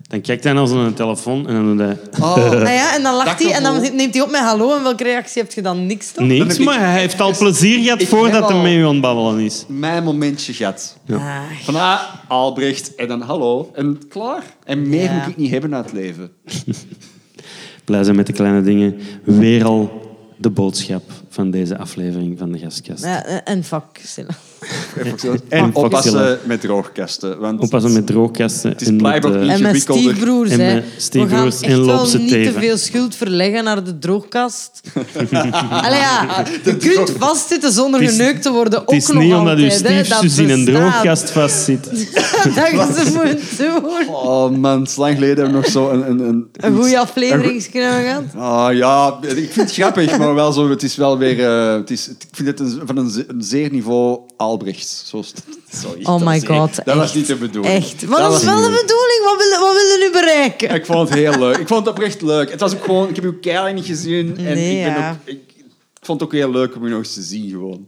C: dan kijkt hij naar zijn telefoon en dan doet hij... Eh, [LAUGHS]
B: Oh,
A: Nou ja, en dan lacht
B: Dat
A: hij en dan
B: gevoel.
A: neemt hij op met hallo. En welke reactie heb je dan? Niks toch?
C: Niks,
B: ik-
C: maar hij heeft al plezier gehad
B: ik
C: voordat
B: heb
C: hij
B: al-
C: met u aan het babbelen is.
B: mijn momentje gehad.
A: Ah,
B: Van ah, Albrecht en dan hallo en klaar. En meer
A: Ja.
B: moet ik niet hebben uit het leven.
C: Blij zijn met de kleine dingen. Weer al de boodschap van deze aflevering van de Gastkast.
A: ja, eh, en fuck. Silla.
B: En
C: fuck
B: oppassen
C: Zilla.
B: met droogkasten. Want
C: Oppassen met droogkasten.
B: is
C: en met,
B: blijkbaar
C: eh,
B: niet-
A: En mijn
B: ingewikkelder.
A: stiefbroers,
C: En
A: hè.
C: mijn stiefbroers
A: We gaan
C: en
A: echt wel
C: loop ze
A: niet te
C: tegen.
A: veel schuld verleggen naar
C: [LAUGHS]
A: de droogkast. Allee, ja, je kunt
B: droog-
A: vastzitten zonder
C: Het is-
A: geneukt te worden.
C: het is
A: ook nog
C: niet omdat uw
A: altijd, hè. Dat
C: stiefzus in een
A: bestaat.
C: droogkast vastzit.
A: [LAUGHS] dat je ze moet doen.
B: Oh man, het is lang geleden hebben we nog zo een... Een, een,
A: Een goede aflevering kunnen we gaan.
B: Ah ja, ik vind het grappig, maar wel zo. Het is wel weer. eh, het is, ik vind het een, van een, ze- een zeer niveau Albrechts. Zo, st- sorry,
A: Oh
B: dat
A: my
B: is-
A: god.
B: Dat
A: echt.
B: was niet de bedoeling.
A: Echt. Wat
B: Dat was
A: was wel de bedoeling? Wat willen wat willen jullie bereiken?
B: Ik vond het heel leuk. Ik vond het oprecht leuk. Het was ook gewoon. Ik heb uw keihard niet gezien. En
A: Nee,
B: ik, ben
A: ja.
B: ook, ik, ik vond het ook heel leuk om u nog eens te zien gewoon.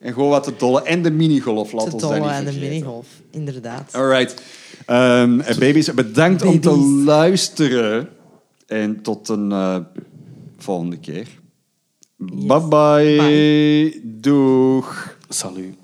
B: En gewoon wat te dolle. En de minigolf, laat
A: De
B: ons dat niet
A: dolle en de
B: vergeten.
A: minigolf, inderdaad.
B: Alright. Ehm, eh, baby's, bedankt om te
A: Baby's.
B: luisteren. En tot een eh, volgende keer. Bye, bye. Doeg.
C: Salut.